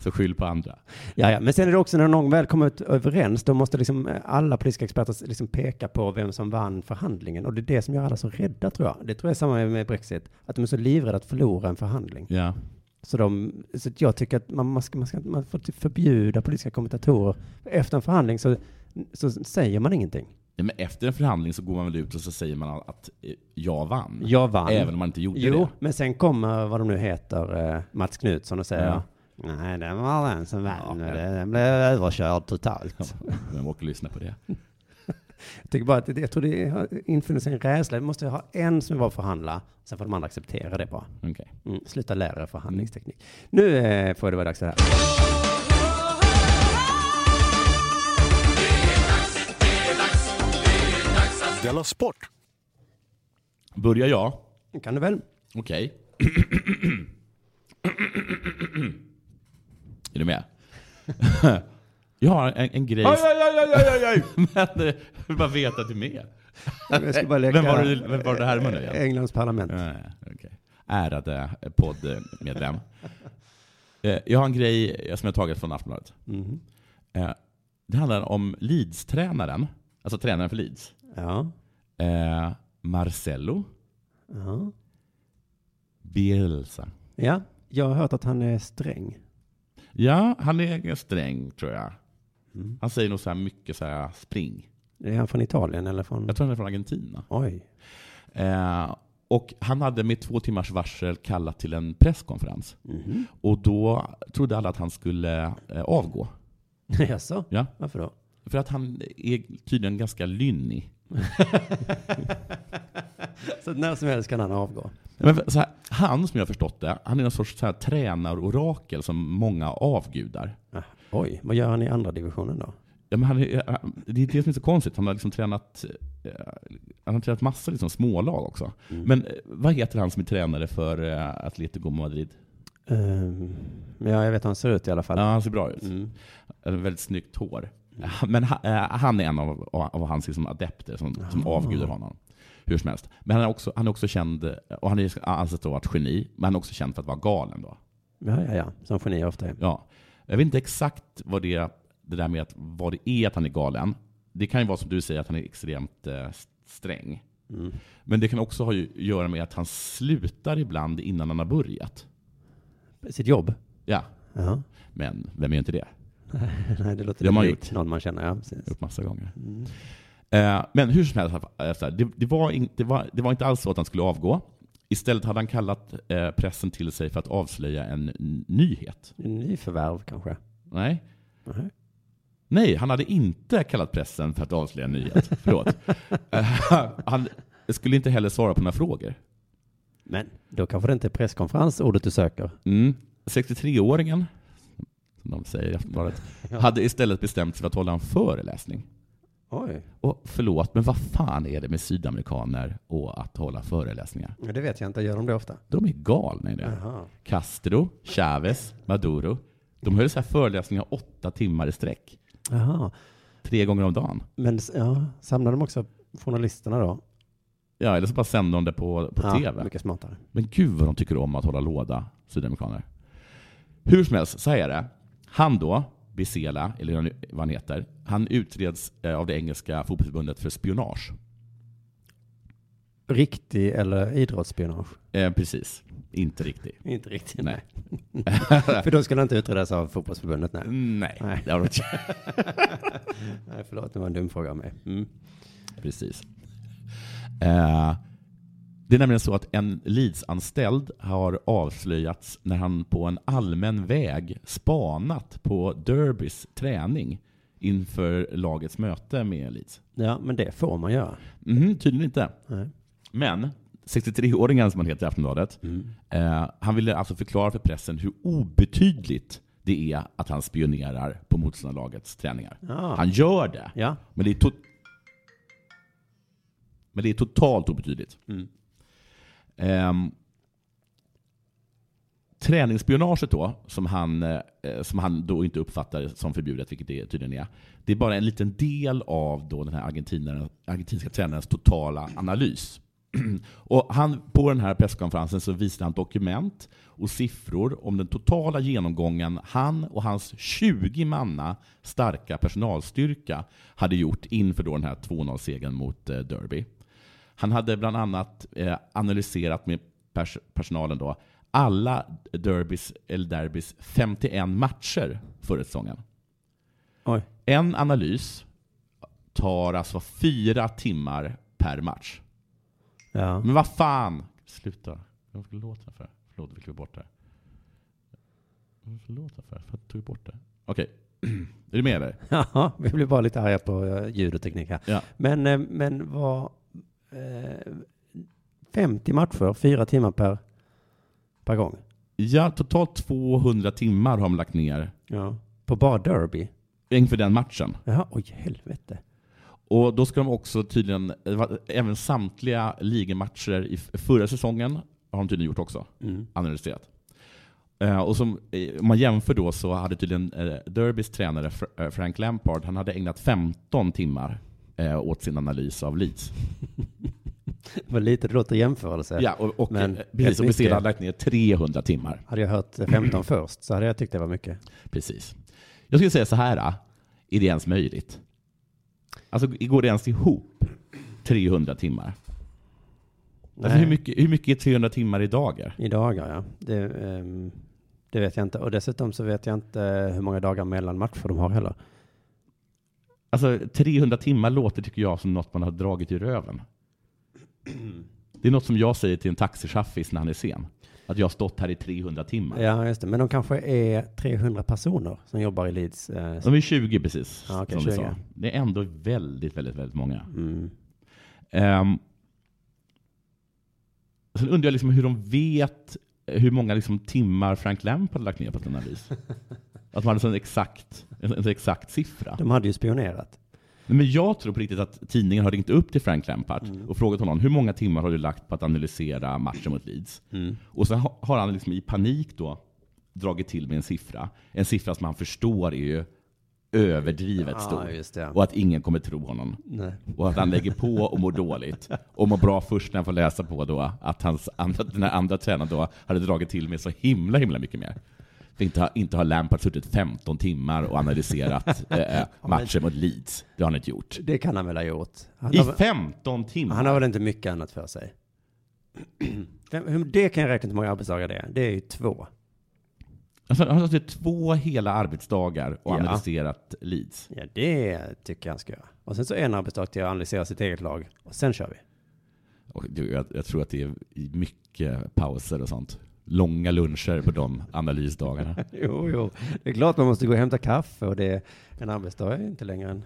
[SPEAKER 4] Så skyll på andra.
[SPEAKER 3] Ja, ja, men sen är det också när någon väl kommer ut överens, då måste liksom eh, alla politiska experter liksom peka på vem som vann förhandlingen. Och det är det som gör alla så rädda, tror jag. Det tror jag är samma med Brexit, att de är så livrädda att förlora en förhandling.
[SPEAKER 4] Ja.
[SPEAKER 3] Så, de, så att jag tycker att man, man, ska, man, ska, man får typ förbjuda politiska kommentatorer. Efter en förhandling så, så säger man ingenting.
[SPEAKER 4] Ja, men efter en förhandling så går man väl ut och så säger man att eh, jag vann.
[SPEAKER 3] Jag vann.
[SPEAKER 4] Även om man inte gjorde
[SPEAKER 3] Jo,
[SPEAKER 4] det.
[SPEAKER 3] men sen kommer, vad de nu heter, eh, Mats Knutsson och säger
[SPEAKER 4] Ja.
[SPEAKER 3] Nej, den var den som vann.
[SPEAKER 4] Ja.
[SPEAKER 3] och det- Den blev överkörd
[SPEAKER 4] Ja,
[SPEAKER 3] totalt.
[SPEAKER 4] Vem orkar lyssna på det?
[SPEAKER 3] Jag tycker bara att det, jag tror det har infunnit sig en rädsla. Vi måste ha en som är bra att förhandla, sen får de andra acceptera det bara.
[SPEAKER 4] Okej.
[SPEAKER 3] Mm. Sluta lära er
[SPEAKER 4] Mm.
[SPEAKER 3] förhandlingsteknik. Nu eh, får det vara dags för det här.
[SPEAKER 1] Della Sport!
[SPEAKER 4] Börjar jag?
[SPEAKER 3] Kan du väl?
[SPEAKER 4] Okej. är du med? jag har en, en grej... Aj, aj, aj, aj, aj, aj. Men eh, jag vill bara veta att du är med.
[SPEAKER 3] Jag ska bara leka
[SPEAKER 4] Vem var det, vem var det här med nu igen?
[SPEAKER 3] Englands parlament.
[SPEAKER 4] Eh, okej. Ärade poddmedlem. Eh, Jag har en grej eh, som jag tagit från Aftonbladet.
[SPEAKER 3] Mhm.
[SPEAKER 4] Eh, Det handlar om Leeds-tränaren, alltså tränaren för Leeds,
[SPEAKER 3] Ja.
[SPEAKER 4] eh, Marcelo
[SPEAKER 3] ja.
[SPEAKER 4] Bielsa.
[SPEAKER 3] Ja, jag har hört att han är sträng.
[SPEAKER 4] Ja, han är ganska sträng tror jag.
[SPEAKER 3] Mm.
[SPEAKER 4] Han säger nog så här mycket så här spring.
[SPEAKER 3] Är han från Italien eller från...
[SPEAKER 4] Jag tror han är från Argentina.
[SPEAKER 3] Oj.
[SPEAKER 4] Eh, och han hade med två timmars varsel kallat till en presskonferens.
[SPEAKER 3] Mhm.
[SPEAKER 4] Och då trodde alla att han skulle eh, avgå.
[SPEAKER 3] Jaså?
[SPEAKER 4] Ja.
[SPEAKER 3] Varför då?
[SPEAKER 4] För att han är tydligen ganska lynnig.
[SPEAKER 3] Så när som helst kan han avgå.
[SPEAKER 4] Men för- så här, han, som jag har förstått det, han är någon sorts så här, tränarorakel som många avgudar.
[SPEAKER 3] Ah, Oj, vad gör han i andra divisionen då?
[SPEAKER 4] Ja, men han är, eh, det är det som är så konstigt. Han har liksom tränat, eh, han har tränat massa liksom, smålag också. Men eh, vad heter han som är tränare för eh, Atletico Madrid?
[SPEAKER 3] Ehm, ja, jag vet hur han ser ut i alla fall.
[SPEAKER 4] Ja, han ser bra ut.
[SPEAKER 3] Mm.
[SPEAKER 4] Eh, Väldigt snyggt hår. Men ha- eh, han är en av, av hans liksom adepter som, som avgudar honom. Hur som helst. Men han är också, han är också känd, och han är ansett att vara ett geni, men han är också känd för att vara galen. Då.
[SPEAKER 3] Ja, ja, ja. Som genier ofta är.
[SPEAKER 4] Ja. Jag vet inte exakt vad det, det där med att, vad det är att han är galen. Det kan ju vara som du säger, att han är extremt eh, sträng.
[SPEAKER 3] Mm.
[SPEAKER 4] Men det kan också ha ju, göra med att han slutar ibland innan han har börjat.
[SPEAKER 3] Sitt jobb?
[SPEAKER 4] Ja,
[SPEAKER 3] Ja.
[SPEAKER 4] men vem är inte det?
[SPEAKER 3] Nej, det låter
[SPEAKER 4] Det har man
[SPEAKER 3] likt
[SPEAKER 4] gjort.
[SPEAKER 3] någon man känner. Ja, precis. Mm.
[SPEAKER 4] gjort massa gånger. Eh, men hur som helst, eh, så här, det, det, var in, det, var, det var inte alls så att han skulle avgå. Istället hade han kallat eh, pressen till sig för att avslöja en n- nyhet.
[SPEAKER 3] Nyförvärv kanske?
[SPEAKER 4] Nej.
[SPEAKER 3] Nej.
[SPEAKER 4] Nej, han hade inte kallat pressen för att avslöja en nyhet. Förlåt. Eh, han skulle inte heller svara på några frågor.
[SPEAKER 3] Men då kanske det inte är presskonferens ordet du söker.
[SPEAKER 4] Mm. 63-åringen, som de säger i Aftonbladet, hade istället bestämt sig för att hålla en föreläsning.
[SPEAKER 3] Oj.
[SPEAKER 4] Och förlåt, men vad fan är det med sydamerikaner och att hålla föreläsningar?
[SPEAKER 3] Ja, det vet jag inte. Gör de det ofta?
[SPEAKER 4] De är galna i det.
[SPEAKER 3] Jaha.
[SPEAKER 4] Castro, Chavez, Maduro. De höll så här föreläsningar åtta timmar i sträck.
[SPEAKER 3] Jaha.
[SPEAKER 4] Tre gånger om dagen.
[SPEAKER 3] Men s- ja, samlar de också journalisterna då?
[SPEAKER 4] Ja, eller så bara sände de det på, på
[SPEAKER 3] Ja,
[SPEAKER 4] TV.
[SPEAKER 3] mycket smartare.
[SPEAKER 4] Men gud vad de tycker om att hålla låda, sydamerikaner. Hur som helst, så här är det. Han då, Bisela, eller vad han- vad han heter, han utreds eh, av det engelska fotbollsförbundet för spionage.
[SPEAKER 3] Riktig eller idrottsspionage?
[SPEAKER 4] Eh, precis. Inte riktigt.
[SPEAKER 3] Inte riktigt.
[SPEAKER 4] Nej.
[SPEAKER 3] För då skulle det inte utredas av fotbollsförbundet. Nej.
[SPEAKER 4] Nej.
[SPEAKER 3] Nej.
[SPEAKER 4] Det har de inte
[SPEAKER 3] nej, förlåt. Det var en dum fråga av mig. Mm.
[SPEAKER 4] Precis. Eh, det är nämligen så att en Leeds-anställd har avslöjats när han på en allmän väg spanat på Derbys träning inför lagets möte med Leeds.
[SPEAKER 3] Ja, men det får man göra.
[SPEAKER 4] Mhm, tydligen inte.
[SPEAKER 3] Nej.
[SPEAKER 4] Men 63-åringen som han heter i Aftonbladet,
[SPEAKER 3] Mm.
[SPEAKER 4] eh, han ville alltså förklara för pressen hur obetydligt det är att han spionerar på motståndarlagets träningar.
[SPEAKER 3] Ja.
[SPEAKER 4] Han gör det,
[SPEAKER 3] Ja.
[SPEAKER 4] men det är, to- men det är totalt obetydligt.
[SPEAKER 3] Mm.
[SPEAKER 4] Ehm, träningsspionaget då, som han, eh, som han då inte uppfattar som förbjudet, vilket det tydligen är, det är bara en liten del av då den här argentinaren- argentinska tränarens totala analys. Och han, på den här presskonferensen så visade han dokument och siffror om den totala genomgången han och hans 20 manna starka personalstyrka hade gjort inför då den här 2-0-segern mot eh, Derby. Han hade bland annat eh, analyserat med pers- personalen då alla derbys, eller derbys 51 matcher förra säsongen.
[SPEAKER 3] Oj.
[SPEAKER 4] En analys tar alltså fyra timmar per match.
[SPEAKER 3] Ja.
[SPEAKER 4] Men vad fan! Sluta. Jag fick låta för. Förlåt, vi klippte bort det. Varför låta för? För att jag tog bort det. Okej. Är du med eller?
[SPEAKER 3] Jaha, vi blir bara lite arga på eh, ljud och teknik här.
[SPEAKER 4] Ja.
[SPEAKER 3] Men, eh, men vad... Eh, 50 matcher, fyra timmar per, per gång.
[SPEAKER 4] Ja, totalt 200 timmar har de lagt ner
[SPEAKER 3] Ja. På bara derby.
[SPEAKER 4] inför den matchen.
[SPEAKER 3] Jaha, oj helvete.
[SPEAKER 4] Och då ska de också tydligen, det var även samtliga ligamatcher i f- förra säsongen har de tydligen gjort också,
[SPEAKER 3] Mm.
[SPEAKER 4] analyserat. Eh, Och som, eh, om man jämför då så hade tydligen eh, Derbys tränare Fr- eh, Frank Lampard, han hade ägnat 15 timmar eh, åt sin analys av Leeds.
[SPEAKER 3] Vad lite det låter i jämförelse.
[SPEAKER 4] Ja, och, eh, och
[SPEAKER 3] Men
[SPEAKER 4] Men, precis, och
[SPEAKER 3] rätt mycket.
[SPEAKER 4] Bessela hade lagt ner 300 timmar.
[SPEAKER 3] Hade jag hört 15 först så hade jag tyckt det var mycket.
[SPEAKER 4] Precis. Jag skulle säga så här, ah, är det ens möjligt? Alltså, går det ens ihop 300 timmar? Alltså,
[SPEAKER 3] Nej.
[SPEAKER 4] hur, mycket, hur mycket är 300 timmar i dagar?
[SPEAKER 3] I dagar, ja. Det, ehm, det vet jag inte. Och dessutom så vet jag inte hur många dagar mellan matcher de har heller.
[SPEAKER 4] Alltså 300 timmar låter, tycker jag, som något man har dragit i röven. Det är något som jag säger till en taxichaffis när han är sen. Att jag har stått här i 300 timmar.
[SPEAKER 3] Ja, just det. Men de kanske är 300 personer som jobbar i Leeds. Eh,
[SPEAKER 4] De är 20 precis,
[SPEAKER 3] Ja, okej,
[SPEAKER 4] som du sa.
[SPEAKER 3] 20.
[SPEAKER 4] Det är ändå väldigt, väldigt, väldigt många.
[SPEAKER 3] mm.
[SPEAKER 4] Um, sen undrar jag liksom hur de vet hur många liksom timmar Frank Lampard lagt ner på sin analys. Att man hade en sån exakt, en, en sån exakt siffra.
[SPEAKER 3] De hade ju spionerat.
[SPEAKER 4] Nej, Men jag tror på riktigt att tidningen har ringt upp till Frank Lampard
[SPEAKER 3] Mm.
[SPEAKER 4] och frågat honom hur många timmar har du lagt på att analysera matchen mot Leeds?
[SPEAKER 3] Mm.
[SPEAKER 4] Och sen ha- har han liksom i panik då dragit till med en siffra. En siffra som han förstår är ju överdrivet
[SPEAKER 3] Ja,
[SPEAKER 4] stor.
[SPEAKER 3] just det.
[SPEAKER 4] Och att ingen kommer tro honom.
[SPEAKER 3] Nej.
[SPEAKER 4] Och att han lägger på och mår dåligt. Och mår bra först när han får läsa på då att hans andra, den här andra tränaren då hade dragit till med så himla, himla mycket mer. För inte, har- inte har Lampard suttit 15 timmar och analyserat eh, matchen mot Leeds. Det har han inte gjort.
[SPEAKER 3] Det kan han väl ha gjort. Han
[SPEAKER 4] I
[SPEAKER 3] har, väl-
[SPEAKER 4] 15 timmar?
[SPEAKER 3] han har väl inte mycket annat för sig. Vem- hur- Det kan jag räkna till hur många arbetsdagar det är. Det är ju två.
[SPEAKER 4] Alltså, han har suttit två hela arbetsdagar och
[SPEAKER 3] Ja.
[SPEAKER 4] analyserat Leeds.
[SPEAKER 3] Ja, det tycker jag han ska göra. Och sen så en arbetsdag till att analysera sitt eget lag. Och sen kör vi.
[SPEAKER 4] Och du, jag, jag tror att det är mycket pauser och sånt. Långa luncher på de analysdagarna.
[SPEAKER 3] Jo, jo. Det är klart man måste gå och hämta kaffe och det en arbetsdag är inte längre än...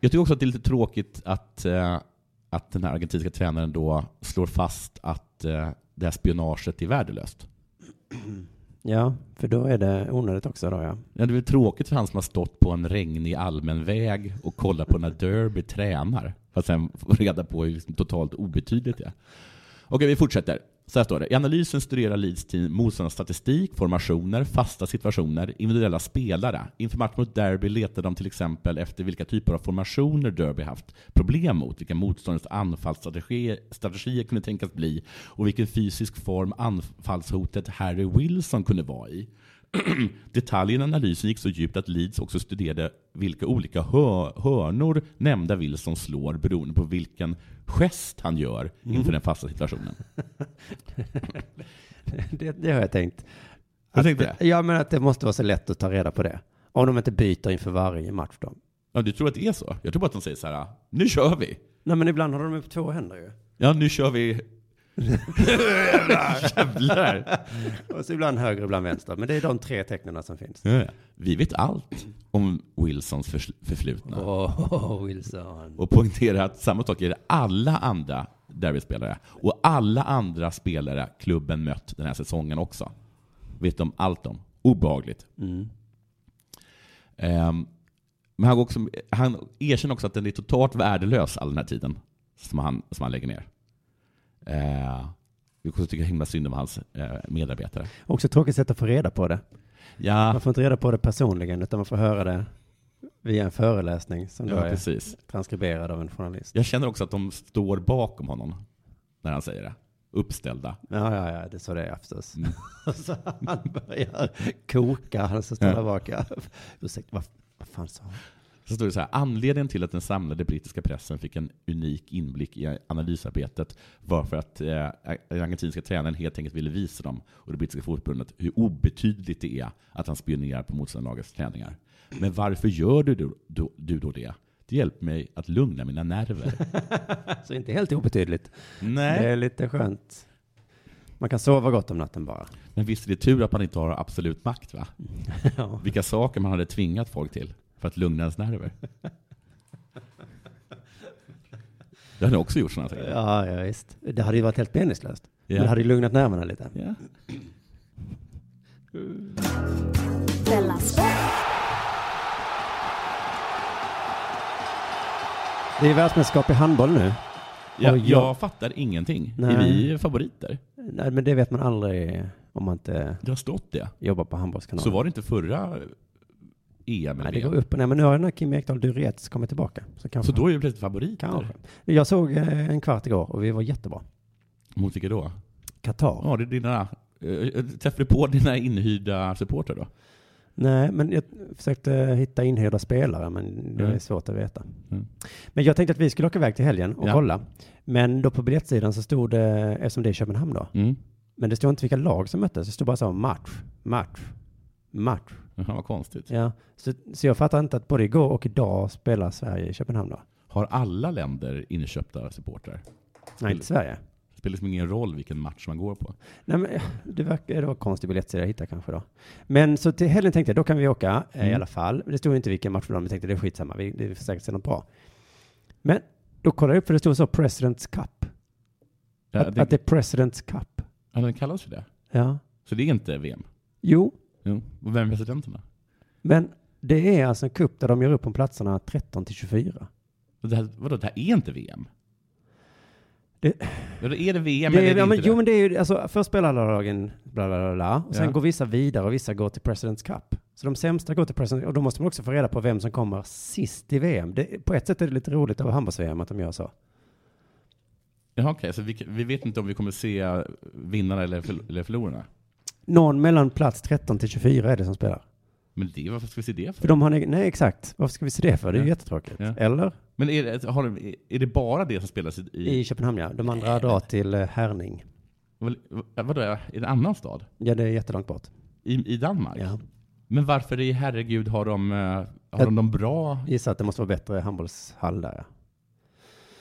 [SPEAKER 4] Jag tycker också att det är lite tråkigt att, eh, att den här argentinska tränaren då slår fast att eh, det här spionaget är värdelöst.
[SPEAKER 3] Ja, för då är det onödigt också då ja.
[SPEAKER 4] Ja, det är väl tråkigt för han som har stått på en regnig allmän väg och kollat på när Derby tränar. Fast sen får reda på hur liksom totalt obetydligt det är. Okej, vi fortsätter. Så här står det. I analysen studerar Leeds team motståndarnas statistik, formationer, fasta situationer, individuella spelare. Inför matchen mot Derby letar de till exempel efter vilka typer av formationer Derby haft problem mot, vilka motståndarnas anfallsstrategier strategier kunde tänkas bli och vilken fysisk form anfallshotet Harry Wilson kunde vara i. Detaljen i analysen gick så djupt att Leeds också studerade vilka olika hö- hörnor nämnda Wilson slår beroende på vilken gest han gör inför den fasta situationen.
[SPEAKER 3] Det, det har jag tänkt.
[SPEAKER 4] Jag tänkte det.
[SPEAKER 3] Ja, men att det måste vara så lätt att ta reda på det. Om de inte byter inför varje match då.
[SPEAKER 4] Ja, du tror att det är så? Jag tror bara att de säger så här, nu kör vi!
[SPEAKER 3] Nej, men ibland har de upp två händer ju.
[SPEAKER 4] Ja, nu kör vi! Jävlar!
[SPEAKER 3] Och så ibland höger, ibland vänster. Men det är de tre tecknen som finns.
[SPEAKER 4] Jävlar. Vi vet allt om Wilsons förs- förflutna.
[SPEAKER 3] Åh, Wilson.
[SPEAKER 4] och poängtera att samma sak gäller alla andra derbyspelare och alla andra spelare klubben mött den här säsongen också. Vet de allt om. Obehagligt. Ehm, men han, går också, han erkänner också att den är totalt värdelös all den här tiden som han, som han lägger ner. Eh, vilket jag tycker himla synd om hans eh, medarbetare.
[SPEAKER 3] Också tråkigt sätt att få reda på det.
[SPEAKER 4] Ja,
[SPEAKER 3] Man får inte reda på det personligen, utan man får höra det via en föreläsning som då
[SPEAKER 4] ja
[SPEAKER 3] är
[SPEAKER 4] precis.
[SPEAKER 3] transkriberad av en journalist.
[SPEAKER 4] Jag känner också att de står bakom honom. när han säger det. Uppställda.
[SPEAKER 3] Ja, ja, ja, det är så det är förstås.
[SPEAKER 4] Mm.
[SPEAKER 3] så han börjar koka, han som står
[SPEAKER 4] Ja.
[SPEAKER 3] där bak. ja. Ursäkta, vad, vad fan sa han?
[SPEAKER 4] Så står det så här, anledningen till att den samlade brittiska pressen fick en unik inblick i analysarbetet var för att eh, den argentinska tränaren helt enkelt ville visa dem och det brittiska fotbollsförbundet hur obetydligt det är att han spionerar på motståndarlagets träningar. Men varför gör du då, då, du då det? Det hjälper mig att lugna mina nerver.
[SPEAKER 3] Så inte helt obetydligt. Det
[SPEAKER 4] Nej.
[SPEAKER 3] är lite skönt. Man kan sova gott om natten bara.
[SPEAKER 4] Men visst är det tur att man inte har absolut makt va?
[SPEAKER 3] ja.
[SPEAKER 4] Vilka saker man hade tvingat folk till för att lugna ens nerver. Jag hade också gjort sådana saker.
[SPEAKER 3] Ja, ja, visst. Det hade ju varit helt meningslöst.
[SPEAKER 4] Ja.
[SPEAKER 3] Men det hade ju lugnat nerverna lite.
[SPEAKER 4] Ja.
[SPEAKER 2] Della Sport.
[SPEAKER 3] Det är världsmästerskap i handboll nu.
[SPEAKER 4] Jag,
[SPEAKER 3] Och
[SPEAKER 4] jag,
[SPEAKER 3] jag-
[SPEAKER 4] fattar ingenting.
[SPEAKER 3] Nej.
[SPEAKER 4] Är vi favoriter?
[SPEAKER 3] Nej, men det vet man aldrig om man inte
[SPEAKER 4] Det har stått det.
[SPEAKER 3] jobbar på handbollskanalen.
[SPEAKER 4] Så var det inte förra EM eller
[SPEAKER 3] Nej, det går
[SPEAKER 4] VM.
[SPEAKER 3] upp och ner. Men nu har den här Kim Ekdahl Durets kommit tillbaka. Så kanske.
[SPEAKER 4] Så då är vi plötsligt favoriter.
[SPEAKER 3] kanske. Jag såg eh, en kvart igår och vi var jättebra.
[SPEAKER 4] Mot vilka då?
[SPEAKER 3] Qatar.
[SPEAKER 4] Ja, det är dina... eh, Träffade du på dina inhyrda supportrar då?
[SPEAKER 3] Nej, men jag försökte hitta inhyrda spelare, men det
[SPEAKER 4] Mm.
[SPEAKER 3] är svårt att veta.
[SPEAKER 4] Mm.
[SPEAKER 3] Men jag tänkte att vi skulle åka iväg till helgen och
[SPEAKER 4] Ja.
[SPEAKER 3] kolla. Men då på biljettsidan så stod det, eftersom det är Köpenhamn då,
[SPEAKER 4] Mm.
[SPEAKER 3] men det stod inte vilka lag som möttes, det stod bara så här, match, match, match.
[SPEAKER 4] Jaha, vad konstigt.
[SPEAKER 3] Ja, så, så jag fattar inte att både igår och idag spelar Sverige i Köpenhamn då.
[SPEAKER 4] Har alla länder inköpta supportrar?
[SPEAKER 3] Nej,
[SPEAKER 4] Mm.
[SPEAKER 3] inte Sverige.
[SPEAKER 4] Det spelar liksom ingen roll vilken match man går på.
[SPEAKER 3] Nej, men det, verkar, det var konstig biljettsida jag hittade kanske då. Men så till helgen tänkte jag, då kan vi åka eh, i
[SPEAKER 4] Mm.
[SPEAKER 3] alla fall. Det stod inte vilken match det var, men jag tänkte det är skitsamma, vi, det är säkert se något bra. Men då kollade jag upp, för det stod så President's Cup.
[SPEAKER 4] Ja,
[SPEAKER 3] att,
[SPEAKER 4] det,
[SPEAKER 3] att det är President's Cup.
[SPEAKER 4] ja, den kallas för det.
[SPEAKER 3] Ja.
[SPEAKER 4] Så det är inte VM?
[SPEAKER 3] Jo,
[SPEAKER 4] Jo. Och vem är presidenterna?
[SPEAKER 3] men det är alltså en cup där de gör upp om platserna 13 till 24.
[SPEAKER 4] Och Det här, vadå, det här är inte VM?
[SPEAKER 3] Det-
[SPEAKER 4] Vadå, är det VM
[SPEAKER 3] det
[SPEAKER 4] eller
[SPEAKER 3] är,
[SPEAKER 4] är det
[SPEAKER 3] ja, men,
[SPEAKER 4] inte
[SPEAKER 3] jo,
[SPEAKER 4] det?
[SPEAKER 3] men det är ju, alltså först spelar alla lagen bla bla bla, bla och sen
[SPEAKER 4] Ja.
[SPEAKER 3] går vissa vidare och vissa går till President's Cup. Så de sämsta går till President's och då måste man också få reda på vem som kommer sist i VM. Det, på ett sätt är det lite roligt över handbolls-VM att de gör så.
[SPEAKER 4] Jaha, okej. Så vi, vi vet inte om vi kommer se vinnarna eller, förl- eller förlorarna.
[SPEAKER 3] Någon mellan plats 13 till 24 är det som spelar.
[SPEAKER 4] Men det, varför ska vi se det
[SPEAKER 3] För
[SPEAKER 4] för?
[SPEAKER 3] de har en egen, nej exakt, varför ska vi se det för? Det är ju
[SPEAKER 4] Ja.
[SPEAKER 3] jättetråkigt.
[SPEAKER 4] Ja.
[SPEAKER 3] Eller?
[SPEAKER 4] Men är det, har de, är det bara det som spelas i...
[SPEAKER 3] I
[SPEAKER 4] i
[SPEAKER 3] Köpenhamn ja, de andra drar till eh, Herning.
[SPEAKER 4] vad, vadå, är det en annan stad?
[SPEAKER 3] Ja, det är jättelångt bort.
[SPEAKER 4] I, i Danmark?
[SPEAKER 3] Ja.
[SPEAKER 4] Men varför i herregud har de, eh, har
[SPEAKER 3] Jag-
[SPEAKER 4] de dem bra?
[SPEAKER 3] Gissa att det måste vara bättre handbollshall där.
[SPEAKER 4] Är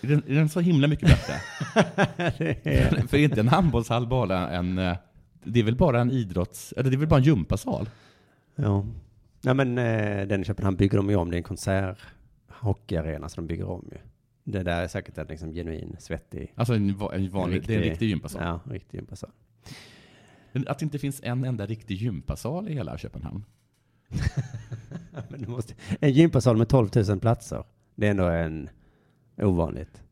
[SPEAKER 4] den, är den så himla mycket bättre?
[SPEAKER 3] det är...
[SPEAKER 4] för är inte en handbollshall bara en... eh, Det är väl bara en idrotts... Eller det är väl bara en gympasal?
[SPEAKER 3] Ja. Nej men eh, den i Köpenhamn bygger de ju om, det är en konsert, hockeyarena som de bygger om ju. Det där är säkert en liksom genuin, svettig,
[SPEAKER 4] Alltså en, va- en vanlig... Det är en
[SPEAKER 3] riktig-
[SPEAKER 4] riktig gympasal.
[SPEAKER 3] ja, riktig gympasal.
[SPEAKER 4] Men Att det inte finns en enda riktig gympasal i hela Köpenhamn.
[SPEAKER 3] Ja, men du måste... En gympasal med 12 000 platser, det är ändå en ovanligt.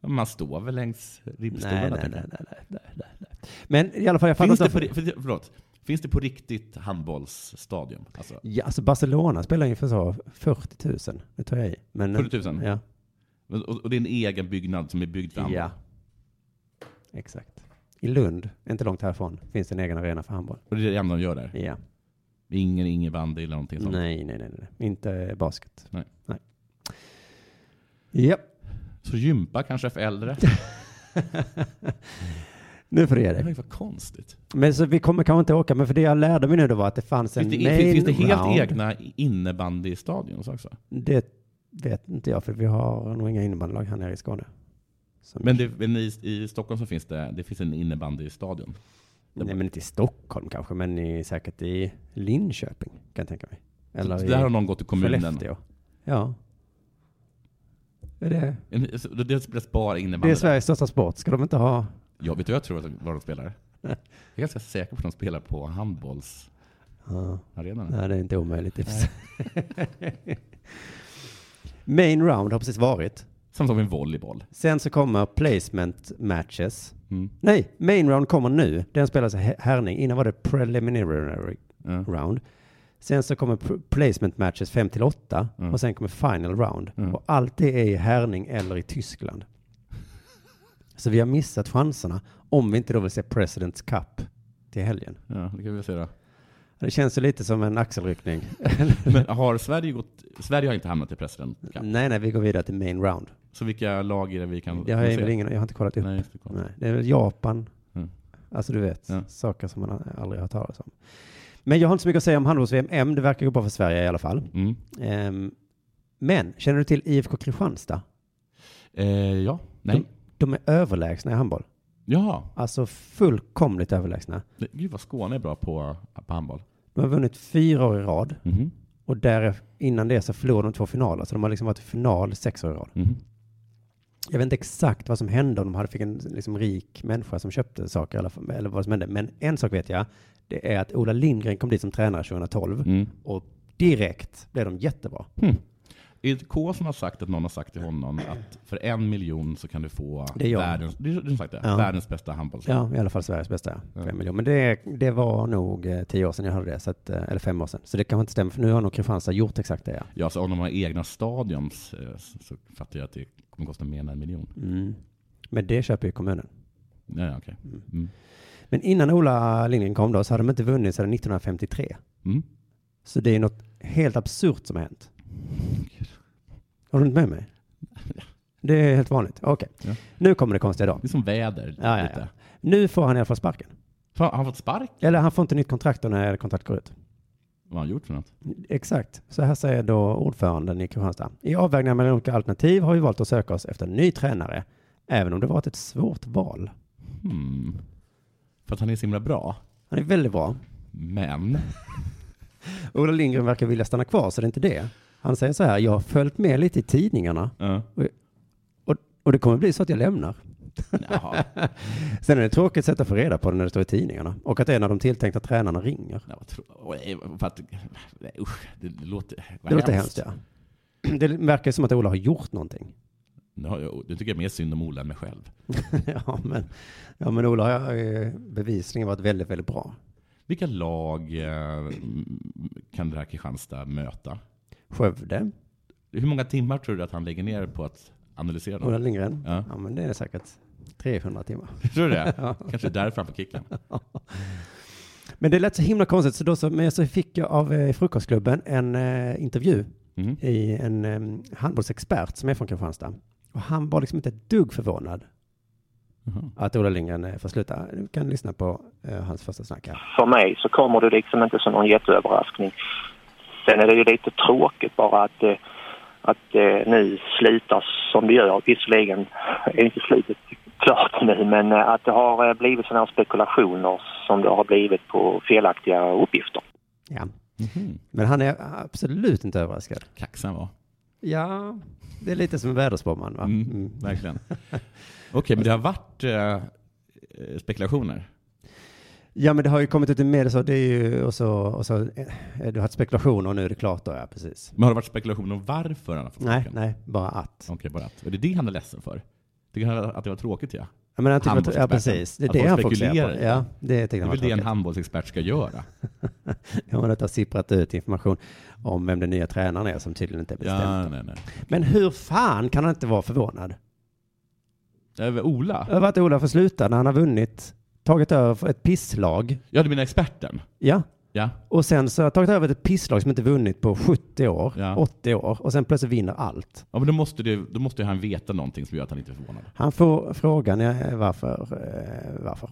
[SPEAKER 4] Man står väl längs ribbstolarna?
[SPEAKER 3] Nej, nej,
[SPEAKER 4] tänker
[SPEAKER 3] nej,
[SPEAKER 4] jag.
[SPEAKER 3] nej, nej, nej, nej, nej. Men i alla fall, jag fattar
[SPEAKER 4] Finns det,
[SPEAKER 3] inte
[SPEAKER 4] på,
[SPEAKER 3] varför-
[SPEAKER 4] ri- för- förlåt, finns det på riktigt handbollsstadion? Alltså,
[SPEAKER 3] Ja, alltså Barcelona spelar inför så 40 000, det tar jag i. Men,
[SPEAKER 4] 40 000?
[SPEAKER 3] Ja.
[SPEAKER 4] Och, och det är en egen byggnad som är byggd för handboll?
[SPEAKER 3] ja. Exakt. I Lund, inte långt härifrån, finns det en egen arena för handboll.
[SPEAKER 4] Och det är det enda de gör där?
[SPEAKER 3] Ja.
[SPEAKER 4] Ingen innebandy eller någonting sånt?
[SPEAKER 3] Nej, nej, nej, nej. Inte basket.
[SPEAKER 4] Nej.
[SPEAKER 3] nej. Japp.
[SPEAKER 4] Så gympa kanske är för äldre?
[SPEAKER 3] Nu får du ge
[SPEAKER 4] Det
[SPEAKER 3] dig.
[SPEAKER 4] är vad konstigt.
[SPEAKER 3] Men så vi kommer kanske inte åka, men för det jag lärde mig nu då var att det fanns en
[SPEAKER 4] Finns det,
[SPEAKER 3] main
[SPEAKER 4] finns det helt
[SPEAKER 3] round.
[SPEAKER 4] egna innebandystadion också?
[SPEAKER 3] Det vet inte jag, för vi har nog inga innebandylag här nere i Skåne. Som-
[SPEAKER 4] Men, det, men i, i Stockholm så finns det, det finns en innebandystadion?
[SPEAKER 3] Nej, men inte i Stockholm kanske, men i, säkert i Linköping kan jag tänka mig. Eller
[SPEAKER 4] så
[SPEAKER 3] i
[SPEAKER 4] där har någon gått till kommunen?
[SPEAKER 3] Skellefteå. Ja. Är det,
[SPEAKER 4] En- så Det spelas bara
[SPEAKER 3] det
[SPEAKER 4] innebandy?
[SPEAKER 3] är
[SPEAKER 4] där.
[SPEAKER 3] Sveriges största sport. Ska de inte ha?
[SPEAKER 4] Ja, vet du vad jag tror att de- var de spelar? Jag är ganska säker på att de spelar på handbollsarenan.
[SPEAKER 3] Ja. Nej, det är inte omöjligt i och för sig. Main round har precis varit.
[SPEAKER 4] Samma sak med volleyboll.
[SPEAKER 3] Sen så kommer placement matches.
[SPEAKER 4] Mm.
[SPEAKER 3] Nej, main round kommer nu. Den spelas i Hä- Härning. Innan var det preliminary
[SPEAKER 4] Ja.
[SPEAKER 3] round. Sen så kommer pr- placement matches 5 till 8
[SPEAKER 4] Mm.
[SPEAKER 3] och sen kommer final round.
[SPEAKER 4] Mm.
[SPEAKER 3] Och allt det är i Härning eller i Tyskland. Så vi har missat chanserna om vi inte då vill se President's Cup till helgen.
[SPEAKER 4] Ja, det kan vi säga.
[SPEAKER 3] Det känns ju lite som en axelryckning.
[SPEAKER 4] Men har Sverige gått... Sverige har inte hamnat i president. Cup.
[SPEAKER 3] nej, nej, vi går vidare till main round.
[SPEAKER 4] Så vilka lag är det vi kan
[SPEAKER 3] Det har jag,
[SPEAKER 4] se?
[SPEAKER 3] väl ingen, jag har inte kollat upp.
[SPEAKER 4] Nej, just det, kolla.
[SPEAKER 3] Nej, det är väl Japan.
[SPEAKER 4] Mm.
[SPEAKER 3] Alltså du vet,
[SPEAKER 4] Ja.
[SPEAKER 3] saker som man aldrig har hört talas om. Men jag har inte så mycket att säga om handbolls-VM än. Det verkar gå bra för Sverige i alla fall.
[SPEAKER 4] Mm.
[SPEAKER 3] Ehm, men känner du till IFK Kristianstad?
[SPEAKER 4] Eh, ja. Nej.
[SPEAKER 3] De- De är överlägsna i handboll.
[SPEAKER 4] Ja.
[SPEAKER 3] Alltså fullkomligt överlägsna.
[SPEAKER 4] Det- Gud vad Skåne är bra på, på handboll.
[SPEAKER 3] De har vunnit fyra år i rad
[SPEAKER 4] Mhm.
[SPEAKER 3] och där, innan det så förlorade de två finaler. Så de har liksom varit i final sex år i rad.
[SPEAKER 4] Mhm.
[SPEAKER 3] Jag vet inte exakt vad som hände om de hade fick en liksom, rik människa som köpte saker eller, eller vad som hände. Men en sak vet jag. Det är att Ola Lindgren kom dit som tränare 2012
[SPEAKER 4] Mm.
[SPEAKER 3] och direkt blev de jättebra.
[SPEAKER 4] Hm. Är det K som har sagt att någon har sagt till honom att för en miljon så kan du få
[SPEAKER 3] Det är jag.
[SPEAKER 4] världens, det är du som sagt det,
[SPEAKER 3] Ja.
[SPEAKER 4] världens bästa handboll.
[SPEAKER 3] Ja, i alla fall Sveriges bästa.
[SPEAKER 4] Ja.
[SPEAKER 3] Fem miljoner. Men det, det var nog eh, tio år sedan jag hörde det, så att, eh, eller fem år sedan. Så det kanske inte stämmer, för nu har nog Kristianstad gjort exakt det. Ja.
[SPEAKER 4] Ja, så om de har egna stadions eh, så, så fattar jag att det kommer kosta mer än en miljon.
[SPEAKER 3] Mm. Men det köper ju kommunen.
[SPEAKER 4] Ja, ja, okej. Mm.
[SPEAKER 3] Men innan Ola Lindgren kom då så hade de inte vunnit sedan 1953.
[SPEAKER 4] Mm.
[SPEAKER 3] Så det är något helt absurt som har hänt. Har du inte med mig? Det är helt vanligt. Okej.
[SPEAKER 4] Ja.
[SPEAKER 3] Nu kommer det konstiga då.
[SPEAKER 4] Det är som väder.
[SPEAKER 3] Ja, ja,
[SPEAKER 4] lite.
[SPEAKER 3] ja. Nu får han i alla fall sparken.
[SPEAKER 4] Fan, har han fått spark?
[SPEAKER 3] Eller han får inte nytt kontrakt då när kontraktet går ut.
[SPEAKER 4] Vad har han gjort för något?
[SPEAKER 3] Exakt. Så här säger då ordföranden i Kristianstad. I avvägningen mellan olika alternativ har vi valt att söka oss efter en ny tränare, även om det varit ett svårt val.
[SPEAKER 4] Hmm. För att han är så himla bra.
[SPEAKER 3] Han är väldigt bra.
[SPEAKER 4] Men,
[SPEAKER 3] Ola Lindgren verkar vilja stanna kvar, så det är inte det. Han säger så här, jag har följt med lite i tidningarna
[SPEAKER 4] ja.
[SPEAKER 3] och, och det kommer bli så att jag lämnar.
[SPEAKER 4] Jaha.
[SPEAKER 3] Sen är det tråkigt sätt att få reda på det när det står i tidningarna och att en av de tilltänkta tränarna ringer.
[SPEAKER 4] Nej, vad tro- Oj, för att, nej, usch, det låter, vad
[SPEAKER 3] Det låter hemskt, ja. Det verkar som att Ola har gjort någonting.
[SPEAKER 4] Nu, har jag, nu tycker jag mer synd om Ola än mig själv.
[SPEAKER 3] ja, men, ja, men Ola har eh, bevisligen varit väldigt, väldigt bra.
[SPEAKER 4] Vilka lag eh, kan det här Kristianstad möta?
[SPEAKER 3] Skövde,
[SPEAKER 4] Hur många timmar tror du att han lägger ner på att analysera
[SPEAKER 3] Ola
[SPEAKER 4] dem?
[SPEAKER 3] Lindgren.
[SPEAKER 4] Ja.
[SPEAKER 3] Ja, men det är säkert 300 timmar.
[SPEAKER 4] Tror du det? Kanske därför han får kicken.
[SPEAKER 3] Men det lät så himla konstigt, så då så, men så fick jag av eh, Frukostklubben en eh, intervju
[SPEAKER 4] Mhm.
[SPEAKER 3] i en eh, handbollsexpert som är från Kristianstad. Och han var liksom inte ett dugg förvånad
[SPEAKER 4] Jaha.
[SPEAKER 3] att Ola Lindgren eh, får sluta. Du kan lyssna på eh, hans första snack här.
[SPEAKER 1] för mig så kommer det liksom inte som någon jätteöverraskning. Sen är det ju lite tråkigt bara att, eh, att eh, nu slutar som det gör. Visserligen är inte slutet klart nu men eh, att det har eh, blivit sådana här spekulationer som det har blivit på felaktiga uppgifter.
[SPEAKER 3] Ja.
[SPEAKER 4] Mhm.
[SPEAKER 3] Men han är absolut inte överraskad.
[SPEAKER 4] Kaxan var.
[SPEAKER 3] Ja, det är lite som en väderspåman va?
[SPEAKER 4] Mm,
[SPEAKER 3] Mm.
[SPEAKER 4] Verkligen. Okej, men det har varit eh, eh, spekulationer.
[SPEAKER 3] Ja, men det har ju kommit ut i media så det är ju, och så, och så, eh, du har haft spekulationer och nu är det klart då, ja precis.
[SPEAKER 4] Men har det varit spekulationer om varför han har fått
[SPEAKER 3] Nej,
[SPEAKER 4] sparken?
[SPEAKER 3] nej, bara att.
[SPEAKER 4] Okej, bara att. Är det det han är ledsen för? Tycker han att det var tråkigt, ja?
[SPEAKER 3] Ja, men han tycker att, ja,
[SPEAKER 4] Handbollsexperten.
[SPEAKER 3] precis. Det är
[SPEAKER 4] Att
[SPEAKER 3] det
[SPEAKER 4] folk
[SPEAKER 3] han fokuserar
[SPEAKER 4] spekulerar
[SPEAKER 3] på.
[SPEAKER 4] i det.
[SPEAKER 3] Ja, det
[SPEAKER 4] Det
[SPEAKER 3] tycker
[SPEAKER 4] är
[SPEAKER 3] han var
[SPEAKER 4] väl det en
[SPEAKER 3] tråkigt.
[SPEAKER 4] handbollsexpert ska göra?
[SPEAKER 3] Ja, men att det har sipprat ut information om vem den nya tränaren är som tydligen inte är bestämt.
[SPEAKER 4] Ja, nej, nej.
[SPEAKER 3] Men hur fan kan han inte vara förvånad?
[SPEAKER 4] Över Ola?
[SPEAKER 3] Över att Ola får sluta när han har vunnit, tagit över för ett pisslag.
[SPEAKER 4] Ja, du menar experten?
[SPEAKER 3] Ja.
[SPEAKER 4] Ja.
[SPEAKER 3] Och sen så har han tagit över ett pisslag som inte vunnit på 70 år,
[SPEAKER 4] Ja.
[SPEAKER 3] 80 år och sen plötsligt vinner allt.
[SPEAKER 4] ja men då måste, du, då måste ju han veta någonting som gör att han inte är förvånad.
[SPEAKER 3] Han får frågan eh, varför, eh, varför.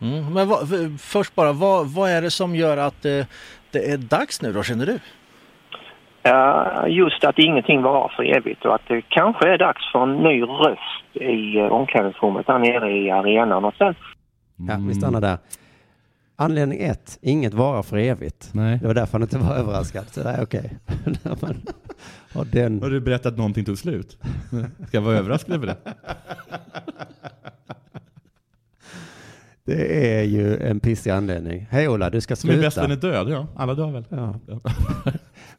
[SPEAKER 5] Mm, men vad, för- först bara, vad, vad är det som gör att eh, det är dags nu då, känner du?
[SPEAKER 1] Eh, Just att ingenting varar för evigt och att det kanske är dags för en ny röst i eh, omklädningsrummet där nere i arenan och sen
[SPEAKER 3] Ja,
[SPEAKER 4] Mm.
[SPEAKER 3] vi stannar där. Anledning ett, inget varar för evigt.
[SPEAKER 4] Nej.
[SPEAKER 3] Det var därför han inte var överraskad. Så nej, okej. När man har
[SPEAKER 4] Mm. Har
[SPEAKER 3] den.
[SPEAKER 4] du berättat att någonting tog slut? Ska jag vara överraskad över det?
[SPEAKER 3] Det är ju en pissig anledning. Hej Ola, du ska
[SPEAKER 4] Som är bäst
[SPEAKER 3] sluta.
[SPEAKER 4] vän är död, ja. Alla dör väl?
[SPEAKER 3] Ja.
[SPEAKER 4] Ja.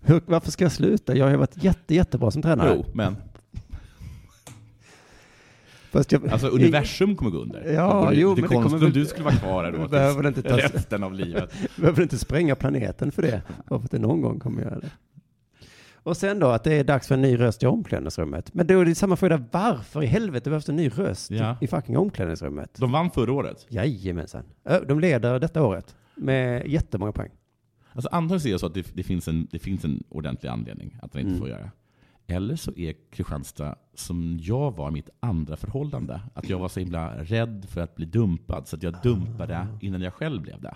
[SPEAKER 3] Hur, varför ska jag sluta? Jag har ju varit jätte, jättebra som tränare.
[SPEAKER 4] Jo, men
[SPEAKER 3] Fast jag,
[SPEAKER 4] alltså universum kommer gå under.
[SPEAKER 3] Ja,
[SPEAKER 4] det vore ju
[SPEAKER 3] jo,
[SPEAKER 4] lite
[SPEAKER 3] men det
[SPEAKER 4] konstigt
[SPEAKER 3] kommer väl-
[SPEAKER 4] om du skulle vara kvar här då.
[SPEAKER 3] Behöver det inte
[SPEAKER 4] tills
[SPEAKER 3] tas-
[SPEAKER 4] Resten av livet.
[SPEAKER 3] Jag behöver inte spränga planeten för det. Bara för att det någon gång kommer göra det. Och sen då att det är dags för en ny röst i omklädningsrummet. Men då är det samma fråga, varför i helvete behövs det en ny röst
[SPEAKER 4] Ja.
[SPEAKER 3] i fucking omklädningsrummet?
[SPEAKER 4] De vann förra året.
[SPEAKER 3] Jajamensan. Ö, De leder detta året med jättemånga poäng.
[SPEAKER 4] Alltså antagligen så är det så att det, det, finns en, det finns en ordentlig anledning att de inte
[SPEAKER 3] Mm.
[SPEAKER 4] får göra. Eller så är Kristianstad, som jag var i mitt andra förhållande, att jag var så himla rädd för att bli dumpad, så att jag dumpade
[SPEAKER 3] Ah.
[SPEAKER 4] innan jag själv blev det.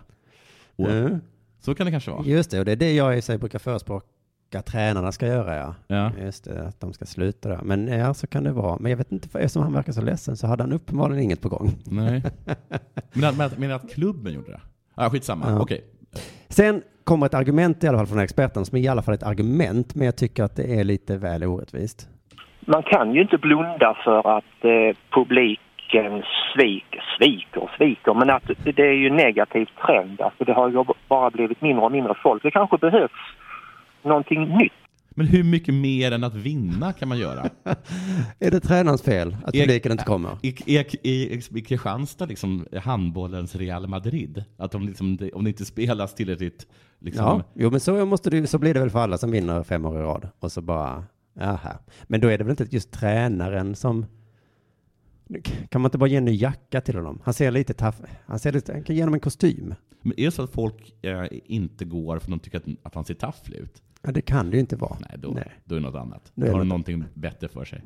[SPEAKER 4] Och
[SPEAKER 3] Mm.
[SPEAKER 4] Så kan det kanske vara.
[SPEAKER 3] Just det, och det är det jag i sig brukar förespråka tränarna ska göra ja.
[SPEAKER 4] Ja.
[SPEAKER 3] Just det, att de ska sluta där. Men ja, så kan det vara. Men jag vet inte, för eftersom han verkar så ledsen så hade han uppenbarligen inget på gång.
[SPEAKER 4] Nej. Men att, men, att, men att klubben gjorde det? Ah, skitsamma,
[SPEAKER 3] Ja.
[SPEAKER 4] okej.
[SPEAKER 3] Sen kommer ett argument i alla fall från experten som är i alla fall ett argument, men jag tycker att det är lite väl orättvist.
[SPEAKER 1] Man kan ju inte blunda för att eh, publiken sviker, sviker, sviker. Men att det det är ju en negativ trend. Alltså det har ju bara blivit mindre och mindre folk. Det kanske behövs någonting nytt.
[SPEAKER 4] Men hur mycket mer än att vinna kan man göra?
[SPEAKER 3] Är det tränarens fel att
[SPEAKER 4] Ek-
[SPEAKER 3] publiken inte kommer?
[SPEAKER 4] I, i, i, I Kristianstad liksom handbollens Real Madrid. Att om, liksom, det- om det inte spelas tillräckligt liksom,
[SPEAKER 3] Ja, jo men så, måste du, så blir det väl för alla som vinner fem år i rad. Och så bara, aha. Men då är det väl inte just tränaren som... Kan man inte bara ge en ny jacka till honom? Han ser lite taff... Han, ser lite, han kan ge honom en kostym.
[SPEAKER 4] Men är det så att folk eh, inte går för att de tycker att, att han ser tafflig ut?
[SPEAKER 3] Ja, det kan det ju inte vara.
[SPEAKER 4] Nej, då, då är det något annat.
[SPEAKER 3] Det är
[SPEAKER 4] Då har
[SPEAKER 3] något-
[SPEAKER 4] de någonting bättre för sig.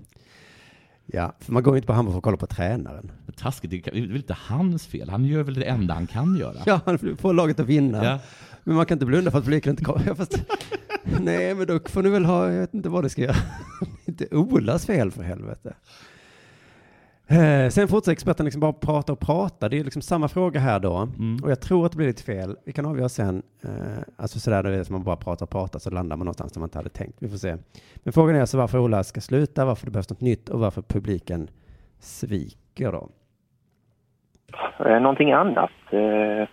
[SPEAKER 3] Ja, för man går ju inte på handboll för att kolla på tränaren.
[SPEAKER 4] Men taskigt, det kan- det är väl inte hans fel? Han gör väl det enda han kan göra?
[SPEAKER 3] Ja, han får laget att vinna.
[SPEAKER 4] Ja.
[SPEAKER 3] Men man kan inte blunda för att publiken inte kommer. Ja, fast, nej, men då får ni väl ha, jag vet inte vad det ska göra. inte Olas fel för helvete. Eh, sen fortsätter experten liksom bara prata och prata. Det är liksom samma fråga här då.
[SPEAKER 4] Mm.
[SPEAKER 3] Och jag tror att det blir lite fel. Vi kan avgöra sen. Eh, alltså sådär, du vet, man bara pratar och pratar så landar man någonstans där man inte hade tänkt. Vi får se. Men frågan är alltså varför Ola ska sluta, varför det behövs något nytt och varför publiken sviker då.
[SPEAKER 1] eh, någonting annat eh,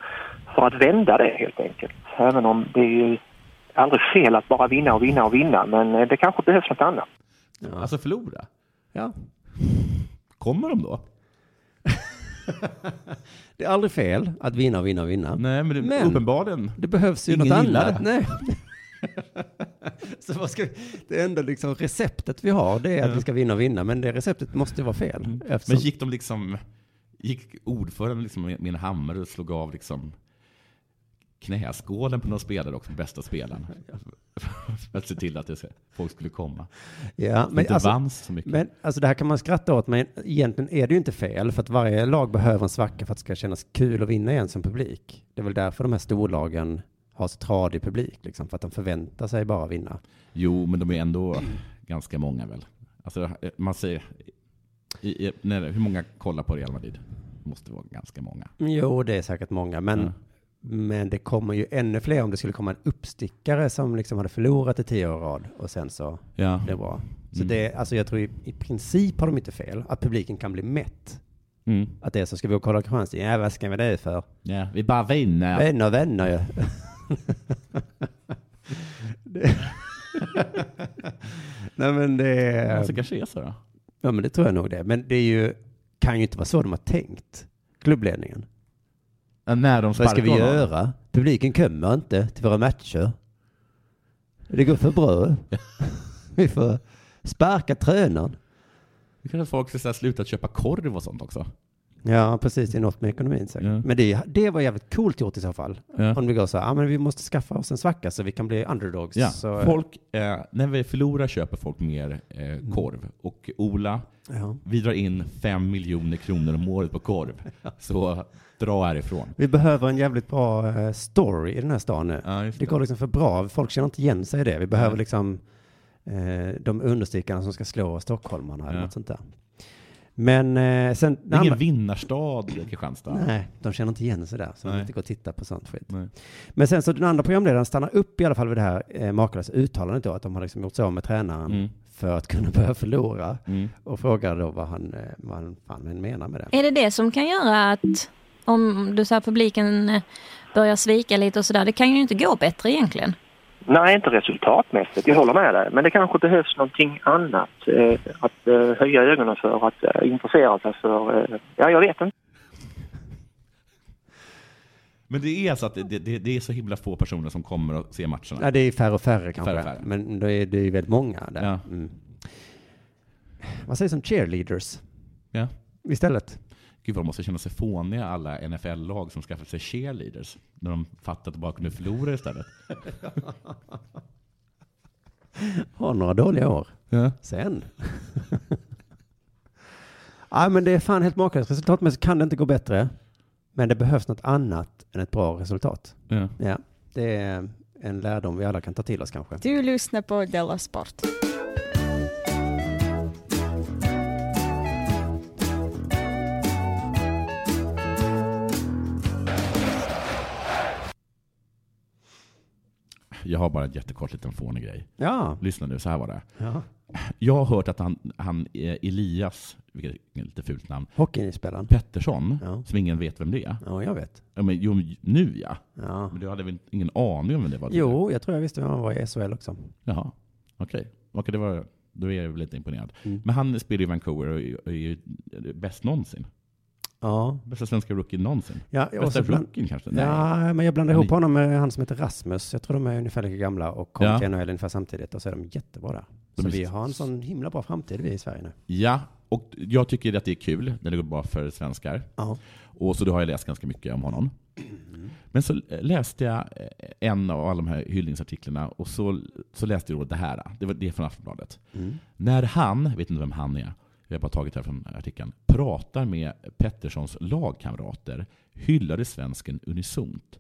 [SPEAKER 1] för att vända det helt enkelt. Även om det är ju aldrig fel att bara vinna och vinna och vinna men eh, det kanske behövs något annat.
[SPEAKER 4] Alltså förlora.
[SPEAKER 3] Ja,
[SPEAKER 4] Kommer de då?
[SPEAKER 3] Det är aldrig fel att vinna och vinna och vinna.
[SPEAKER 4] Nej, men, det,
[SPEAKER 3] Men-
[SPEAKER 4] uppenbarligen.
[SPEAKER 3] Det behövs ju
[SPEAKER 4] Ingen
[SPEAKER 3] något
[SPEAKER 4] gillar
[SPEAKER 3] annat.
[SPEAKER 4] det.
[SPEAKER 3] Nej. Så vad ska vi, det enda liksom receptet vi har det är att vi ska vinna och vinna, men det receptet måste ju vara fel.
[SPEAKER 4] Men
[SPEAKER 3] Eftersom,
[SPEAKER 4] gick de liksom... Gick ordföranden liksom med med en hammare och slog av liksom knäskålen på någon spelare också, bästa spelaren. För att se till att det, ska- folk skulle komma.
[SPEAKER 3] ja, men,
[SPEAKER 4] inte
[SPEAKER 3] alltså,
[SPEAKER 4] vann så mycket.
[SPEAKER 3] men alltså det här kan man skratta åt, men egentligen är det ju inte fel, för att varje lag behöver en svacka för att det ska kännas kul att vinna igen som publik. Det är väl därför de här storlagen har så tradig publik, liksom, för att de förväntar sig bara vinna.
[SPEAKER 4] Jo, men de är ändå ganska många väl? Alltså, eh, man säger... I, i, nej, hur många kollar på Real Madrid? Det måste vara ganska många.
[SPEAKER 3] Mm, Jo, det är säkert många, men,
[SPEAKER 4] Ja.
[SPEAKER 3] men det kommer ju ännu fler om det skulle komma en uppstickare som liksom hade förlorat i tio år i rad och sen så
[SPEAKER 4] Ja.
[SPEAKER 3] blev bra. Så det, alltså jag tror i, i princip har de inte fel, att publiken kan bli mätt.
[SPEAKER 4] Mm.
[SPEAKER 3] Att det är så, ska vi gå och kolla Kristianstad? Ja, vad ska vi det för?
[SPEAKER 4] ja. Vi bara vinner.
[SPEAKER 3] Vänner, vänner ju. det... Nej men
[SPEAKER 4] Ja,
[SPEAKER 3] det...
[SPEAKER 4] så kanske är så då.
[SPEAKER 3] Alltså, Ja men det tror jag nog det. Men det är ju, kan ju inte vara så de har tänkt, klubbledningen.
[SPEAKER 4] Ja, när de
[SPEAKER 3] Vad ska
[SPEAKER 4] sparkar
[SPEAKER 3] vi
[SPEAKER 4] honom.
[SPEAKER 3] göra? Publiken kommer inte till våra matcher. Det går för bra. vi får sparka tränaren.
[SPEAKER 4] Det kanske folk ska så här sluta köpa korv och sånt också.
[SPEAKER 3] Ja, precis. Det är något med ekonomin säkert.
[SPEAKER 4] Ja.
[SPEAKER 3] Men det, det var jävligt coolt gjort i så fall.
[SPEAKER 4] Ja.
[SPEAKER 3] Om vi går så här, ah, men vi måste skaffa oss en svacka så vi kan bli underdogs.
[SPEAKER 4] Ja,
[SPEAKER 3] Så,
[SPEAKER 4] folk, eh, när vi förlorar köper folk mer eh, korv. Och Ola,
[SPEAKER 3] ja.
[SPEAKER 4] vi drar in fem miljoner kronor om året på korv. Så dra härifrån.
[SPEAKER 3] Vi behöver en jävligt bra eh, story i den här stan nu.
[SPEAKER 4] Ja, just
[SPEAKER 3] Det går liksom för bra. Folk känner inte igen sig i det. Vi behöver
[SPEAKER 4] Nej.
[SPEAKER 3] liksom eh, de understickarna som ska slå stockholmarna eller
[SPEAKER 4] Ja.
[SPEAKER 3] något sånt där. Men eh, sen...
[SPEAKER 4] Det är ingen vinnarstad, Kristianstad.
[SPEAKER 3] Nej, de känner inte igen sig där, så de
[SPEAKER 4] Nej.
[SPEAKER 3] inte går och titta på sånt skit.
[SPEAKER 4] Nej.
[SPEAKER 3] Men sen så den andra programledaren stannar upp i alla fall vid det här eh, makalösa uttalandet då, att de har liksom gjort sig av med tränaren
[SPEAKER 4] Mm.
[SPEAKER 3] för att kunna börja förlora.
[SPEAKER 4] Mm.
[SPEAKER 3] Och frågar då vad han, eh, vad han fan men menar med det.
[SPEAKER 6] Är det det som kan göra att om du så här, publiken eh, börjar svika lite och sådär, det kan ju inte gå bättre egentligen.
[SPEAKER 1] Nej, inte resultatmässigt. Jag håller med dig. Men det kanske behövs någonting annat eh, att eh, höja ögonen för, att eh, intressera sig för. Eh, ja, jag vet inte.
[SPEAKER 4] Men det är så att det, det, det är så himla få personer som kommer och ser matcherna.
[SPEAKER 3] Ja, det är färre och färre kanske.
[SPEAKER 4] Färre och färre.
[SPEAKER 3] Men då är det ju väldigt många där.
[SPEAKER 4] Ja.
[SPEAKER 3] Mm. Vad sägs om cheerleaders
[SPEAKER 4] Ja.
[SPEAKER 3] istället?
[SPEAKER 4] Gud vad de måste känna sig fåniga alla NFL-lag som skaffat sig cheerleaders. När de fattat att de bara kunde förlora istället.
[SPEAKER 3] Har några dåliga år
[SPEAKER 4] Ja.
[SPEAKER 3] sen. ja, men det är fan helt makalöst. Resultatmässigt kan det inte gå bättre. Men det behövs något annat än ett bra resultat.
[SPEAKER 4] Ja.
[SPEAKER 3] Ja, det är en lärdom vi alla kan ta till oss kanske.
[SPEAKER 7] Du lyssnar på Della Sport.
[SPEAKER 4] Jag har bara en jättekort liten fånig grej.
[SPEAKER 3] Ja,
[SPEAKER 4] Lyssna nu, så här var det.
[SPEAKER 3] ja.
[SPEAKER 4] Jag har hört att han, han eh, Elias, vilket är ett lite fult namn,
[SPEAKER 3] hockeyspelaren.
[SPEAKER 4] Pettersson,
[SPEAKER 3] Ja.
[SPEAKER 4] som ingen vet vem det är.
[SPEAKER 3] Ja, jag vet.
[SPEAKER 4] Ja, men, jo, nu ja.
[SPEAKER 3] Ja.
[SPEAKER 4] Men du hade väl ingen aning om vem det var?
[SPEAKER 3] Jo, jag tror jag visste vem han var i SHL också.
[SPEAKER 4] Jaha, okej. Okej, det var, då är jag väl lite imponerad.
[SPEAKER 3] Mm.
[SPEAKER 4] Men han spelar ju i Vancouver och är, är ju bäst någonsin.
[SPEAKER 3] Ja,
[SPEAKER 4] Bästa svenska rookien någonsin.
[SPEAKER 3] ja jag- och
[SPEAKER 4] Bästa
[SPEAKER 3] så bland...
[SPEAKER 4] rookien kanske? Nej.
[SPEAKER 3] Ja, men jag blandar
[SPEAKER 4] Han
[SPEAKER 3] ihop honom med han som heter Rasmus. Jag tror de är ungefär lika gamla och kom
[SPEAKER 4] Ja.
[SPEAKER 3] till NHL ungefär samtidigt och så är de jättebra där.
[SPEAKER 4] De
[SPEAKER 3] Så
[SPEAKER 4] är-
[SPEAKER 3] vi har en sån himla bra framtid vi i Sverige nu.
[SPEAKER 4] ja, och jag tycker att det är kul när det går bra för svenskar.
[SPEAKER 3] Ja.
[SPEAKER 4] Och så då har jag läst ganska mycket om honom. Men så läste jag eh, en av alla de här hyllningsartiklarna och så, så läste jag då det här. Det var det är från Aftonbladet. När han, jag vet inte vem han är, jag har bara tagit det här från artikeln, pratar med Petterssons lagkamrater hyllade svensken unisont.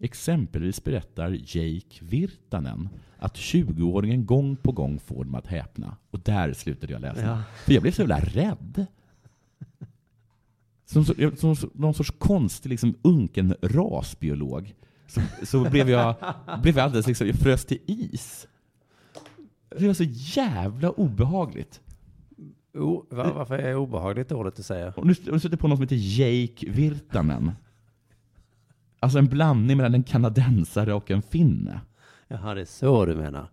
[SPEAKER 4] Exempelvis berättar Jake Virtanen att 20-åringen gång på gång får dem att häpna. Och där slutade jag läsa.
[SPEAKER 3] Ja.
[SPEAKER 4] För jag blev så jävla rädd. Som, så- jag- som, som någon sorts konstig liksom, unken rasbiolog så, så blev jag, blev jag alldeles liksom, jag frös till is. Det var så jävla obehagligt.
[SPEAKER 3] Oh, va, varför är obehagligt ordet du säger?
[SPEAKER 4] Och nu har du suttit på någon som heter Jake Virtanen. Alltså en blandning mellan en kanadensare och en finne.
[SPEAKER 3] Jaha, det är så du menar.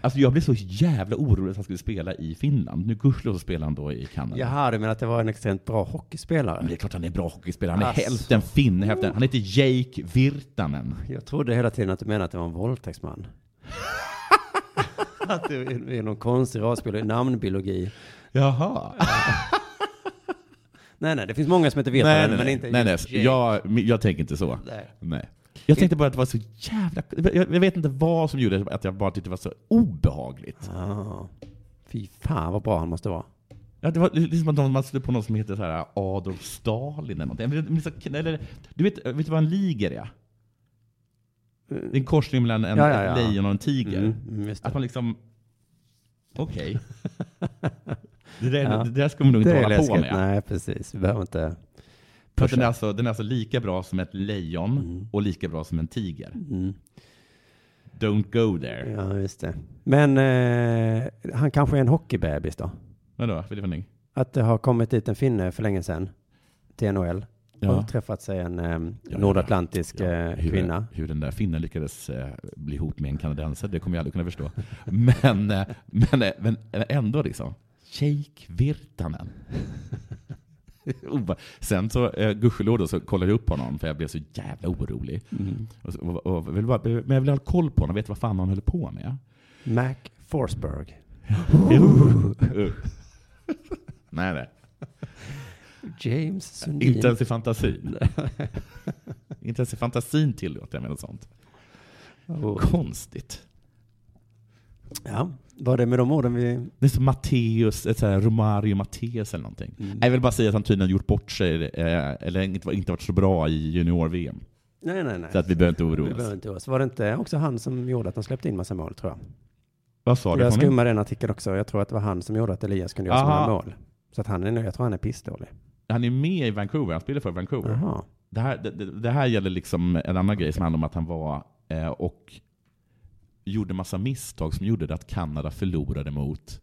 [SPEAKER 4] Alltså jag blev så jävla orolig att han skulle spela i Finland. Nu gudskelov så spelar han då i Kanada.
[SPEAKER 3] Jaha, du menar att det var en extremt bra hockeyspelare?
[SPEAKER 4] Men det är klart han är en bra hockeyspelare. Han är
[SPEAKER 3] Alltså.
[SPEAKER 4] hälften finne, hälften... Han heter Jake Virtanen.
[SPEAKER 3] Jag trodde hela tiden att du menade att det var en våldtäktsman. att det är någon konstig rasbiologi, namnbiologi.
[SPEAKER 4] Jaha.
[SPEAKER 3] Nej, nej, det finns många som heter Virtanen, men inte
[SPEAKER 4] nej, nej.
[SPEAKER 3] just Jake.
[SPEAKER 4] Jag, jag tänker inte så.
[SPEAKER 3] Nej.
[SPEAKER 4] Nej. Jag tänkte bara att det var så jävla... Jag, jag vet inte vad som gjorde att jag bara tyckte det var så obehagligt.
[SPEAKER 3] Ah, fy fan vad bra han måste vara.
[SPEAKER 4] Ja, det var liksom att någon- man skulle på någon som heter så här Adolf Stalin eller någonting. Jag minns att- Eller, du vet, vet du vad en liger är? Det är en korsning mellan en,
[SPEAKER 3] Mm. Ja, ja, ja.
[SPEAKER 4] ett lejon och en tiger.
[SPEAKER 3] Mm, mm, just det.
[SPEAKER 4] Att man liksom... Okej. det, där,
[SPEAKER 3] Ja.
[SPEAKER 4] det där ska man nog
[SPEAKER 3] Det
[SPEAKER 4] inte
[SPEAKER 3] är
[SPEAKER 4] hålla
[SPEAKER 3] läskigt.
[SPEAKER 4] på med.
[SPEAKER 3] Nej, precis. Vi behöver inte...
[SPEAKER 4] För att den, är alltså, den är alltså lika bra som ett lejon och lika bra som en tiger. Don't go there.
[SPEAKER 3] Ja, just det. Men eh, han kanske är en hockeybebis då?
[SPEAKER 4] Vadå? Vill du fundering?
[SPEAKER 3] Att det har kommit dit en finne för länge sedan till NHL
[SPEAKER 4] Ja.
[SPEAKER 3] och träffat sig en eh,
[SPEAKER 4] ja.
[SPEAKER 3] nordatlantisk eh,
[SPEAKER 4] hur,
[SPEAKER 3] kvinna.
[SPEAKER 4] hur den där finnen lyckades eh, bli ihop med en kanadensare, det kommer jag aldrig kunna förstå. Men, eh, men, eh, men ändå liksom. Jake Virtanen. Obe- Sen så, eh, gudskelov då, så kollade jag upp honom för jag blev så jävla orolig. Och, så- och, och, vill bara, men jag ville ha koll på honom, vet vad fan han höll på med. Eh,
[SPEAKER 3] Mac Forsberg.
[SPEAKER 4] oh. nej, nej.
[SPEAKER 3] James Sundin.
[SPEAKER 4] Inte ens i fantasin. Inte ens i fantasin tillåter jag mig något sånt.
[SPEAKER 3] Och-
[SPEAKER 4] Konstigt.
[SPEAKER 3] Ja, var det med de orden vi...
[SPEAKER 4] Det är som Matteus, ett så här Romario Matteus eller någonting. Nej, Jag vill bara säga att han tydligen har gjort bort sig, eh, eller inte, inte varit så bra i junior-VM.
[SPEAKER 3] Nej, nej, nej.
[SPEAKER 4] Så att vi behöver inte
[SPEAKER 3] vi
[SPEAKER 4] oroa
[SPEAKER 3] behöver
[SPEAKER 4] oss.
[SPEAKER 3] inte oroa oss. Var det inte också han som gjorde att de släppte in massa mål, tror jag?
[SPEAKER 4] Vad sa du?
[SPEAKER 3] jag
[SPEAKER 4] Conny?
[SPEAKER 3] skummade den artikeln också. Jag tror att det var han som gjorde att Elias kunde göra så
[SPEAKER 4] Aha.
[SPEAKER 3] många mål. Så att han är, nog- jag tror han är pissdålig.
[SPEAKER 4] Han är med i Vancouver, han spelar för Vancouver.
[SPEAKER 3] Jaha.
[SPEAKER 4] Det, här, det, det- det här gäller liksom en annan grej som handlar om att han var eh, och gjorde massa misstag som gjorde det att Kanada förlorade mot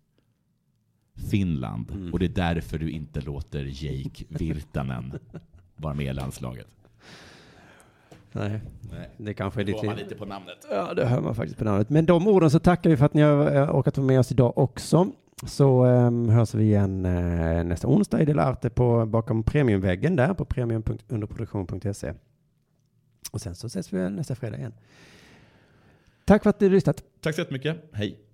[SPEAKER 4] Finland. Och det är därför du inte låter Jake Virtanen vara med i landslaget.
[SPEAKER 3] Nej, det kanske är ditt...
[SPEAKER 4] Går man lite på namnet.
[SPEAKER 3] Ja, det hör man faktiskt på namnet. Men de orden så tackar vi för att ni har eh, orkat vara med oss idag också. Så um, hörs vi igen eh, nästa onsdag i Dela Arte på, bakom premiumväggen där på premium.underproduktion.se. Och sen så ses vi väl nästa fredag igen. Tack för att du har lyssnat.
[SPEAKER 4] Tack så jättemycket. Hej.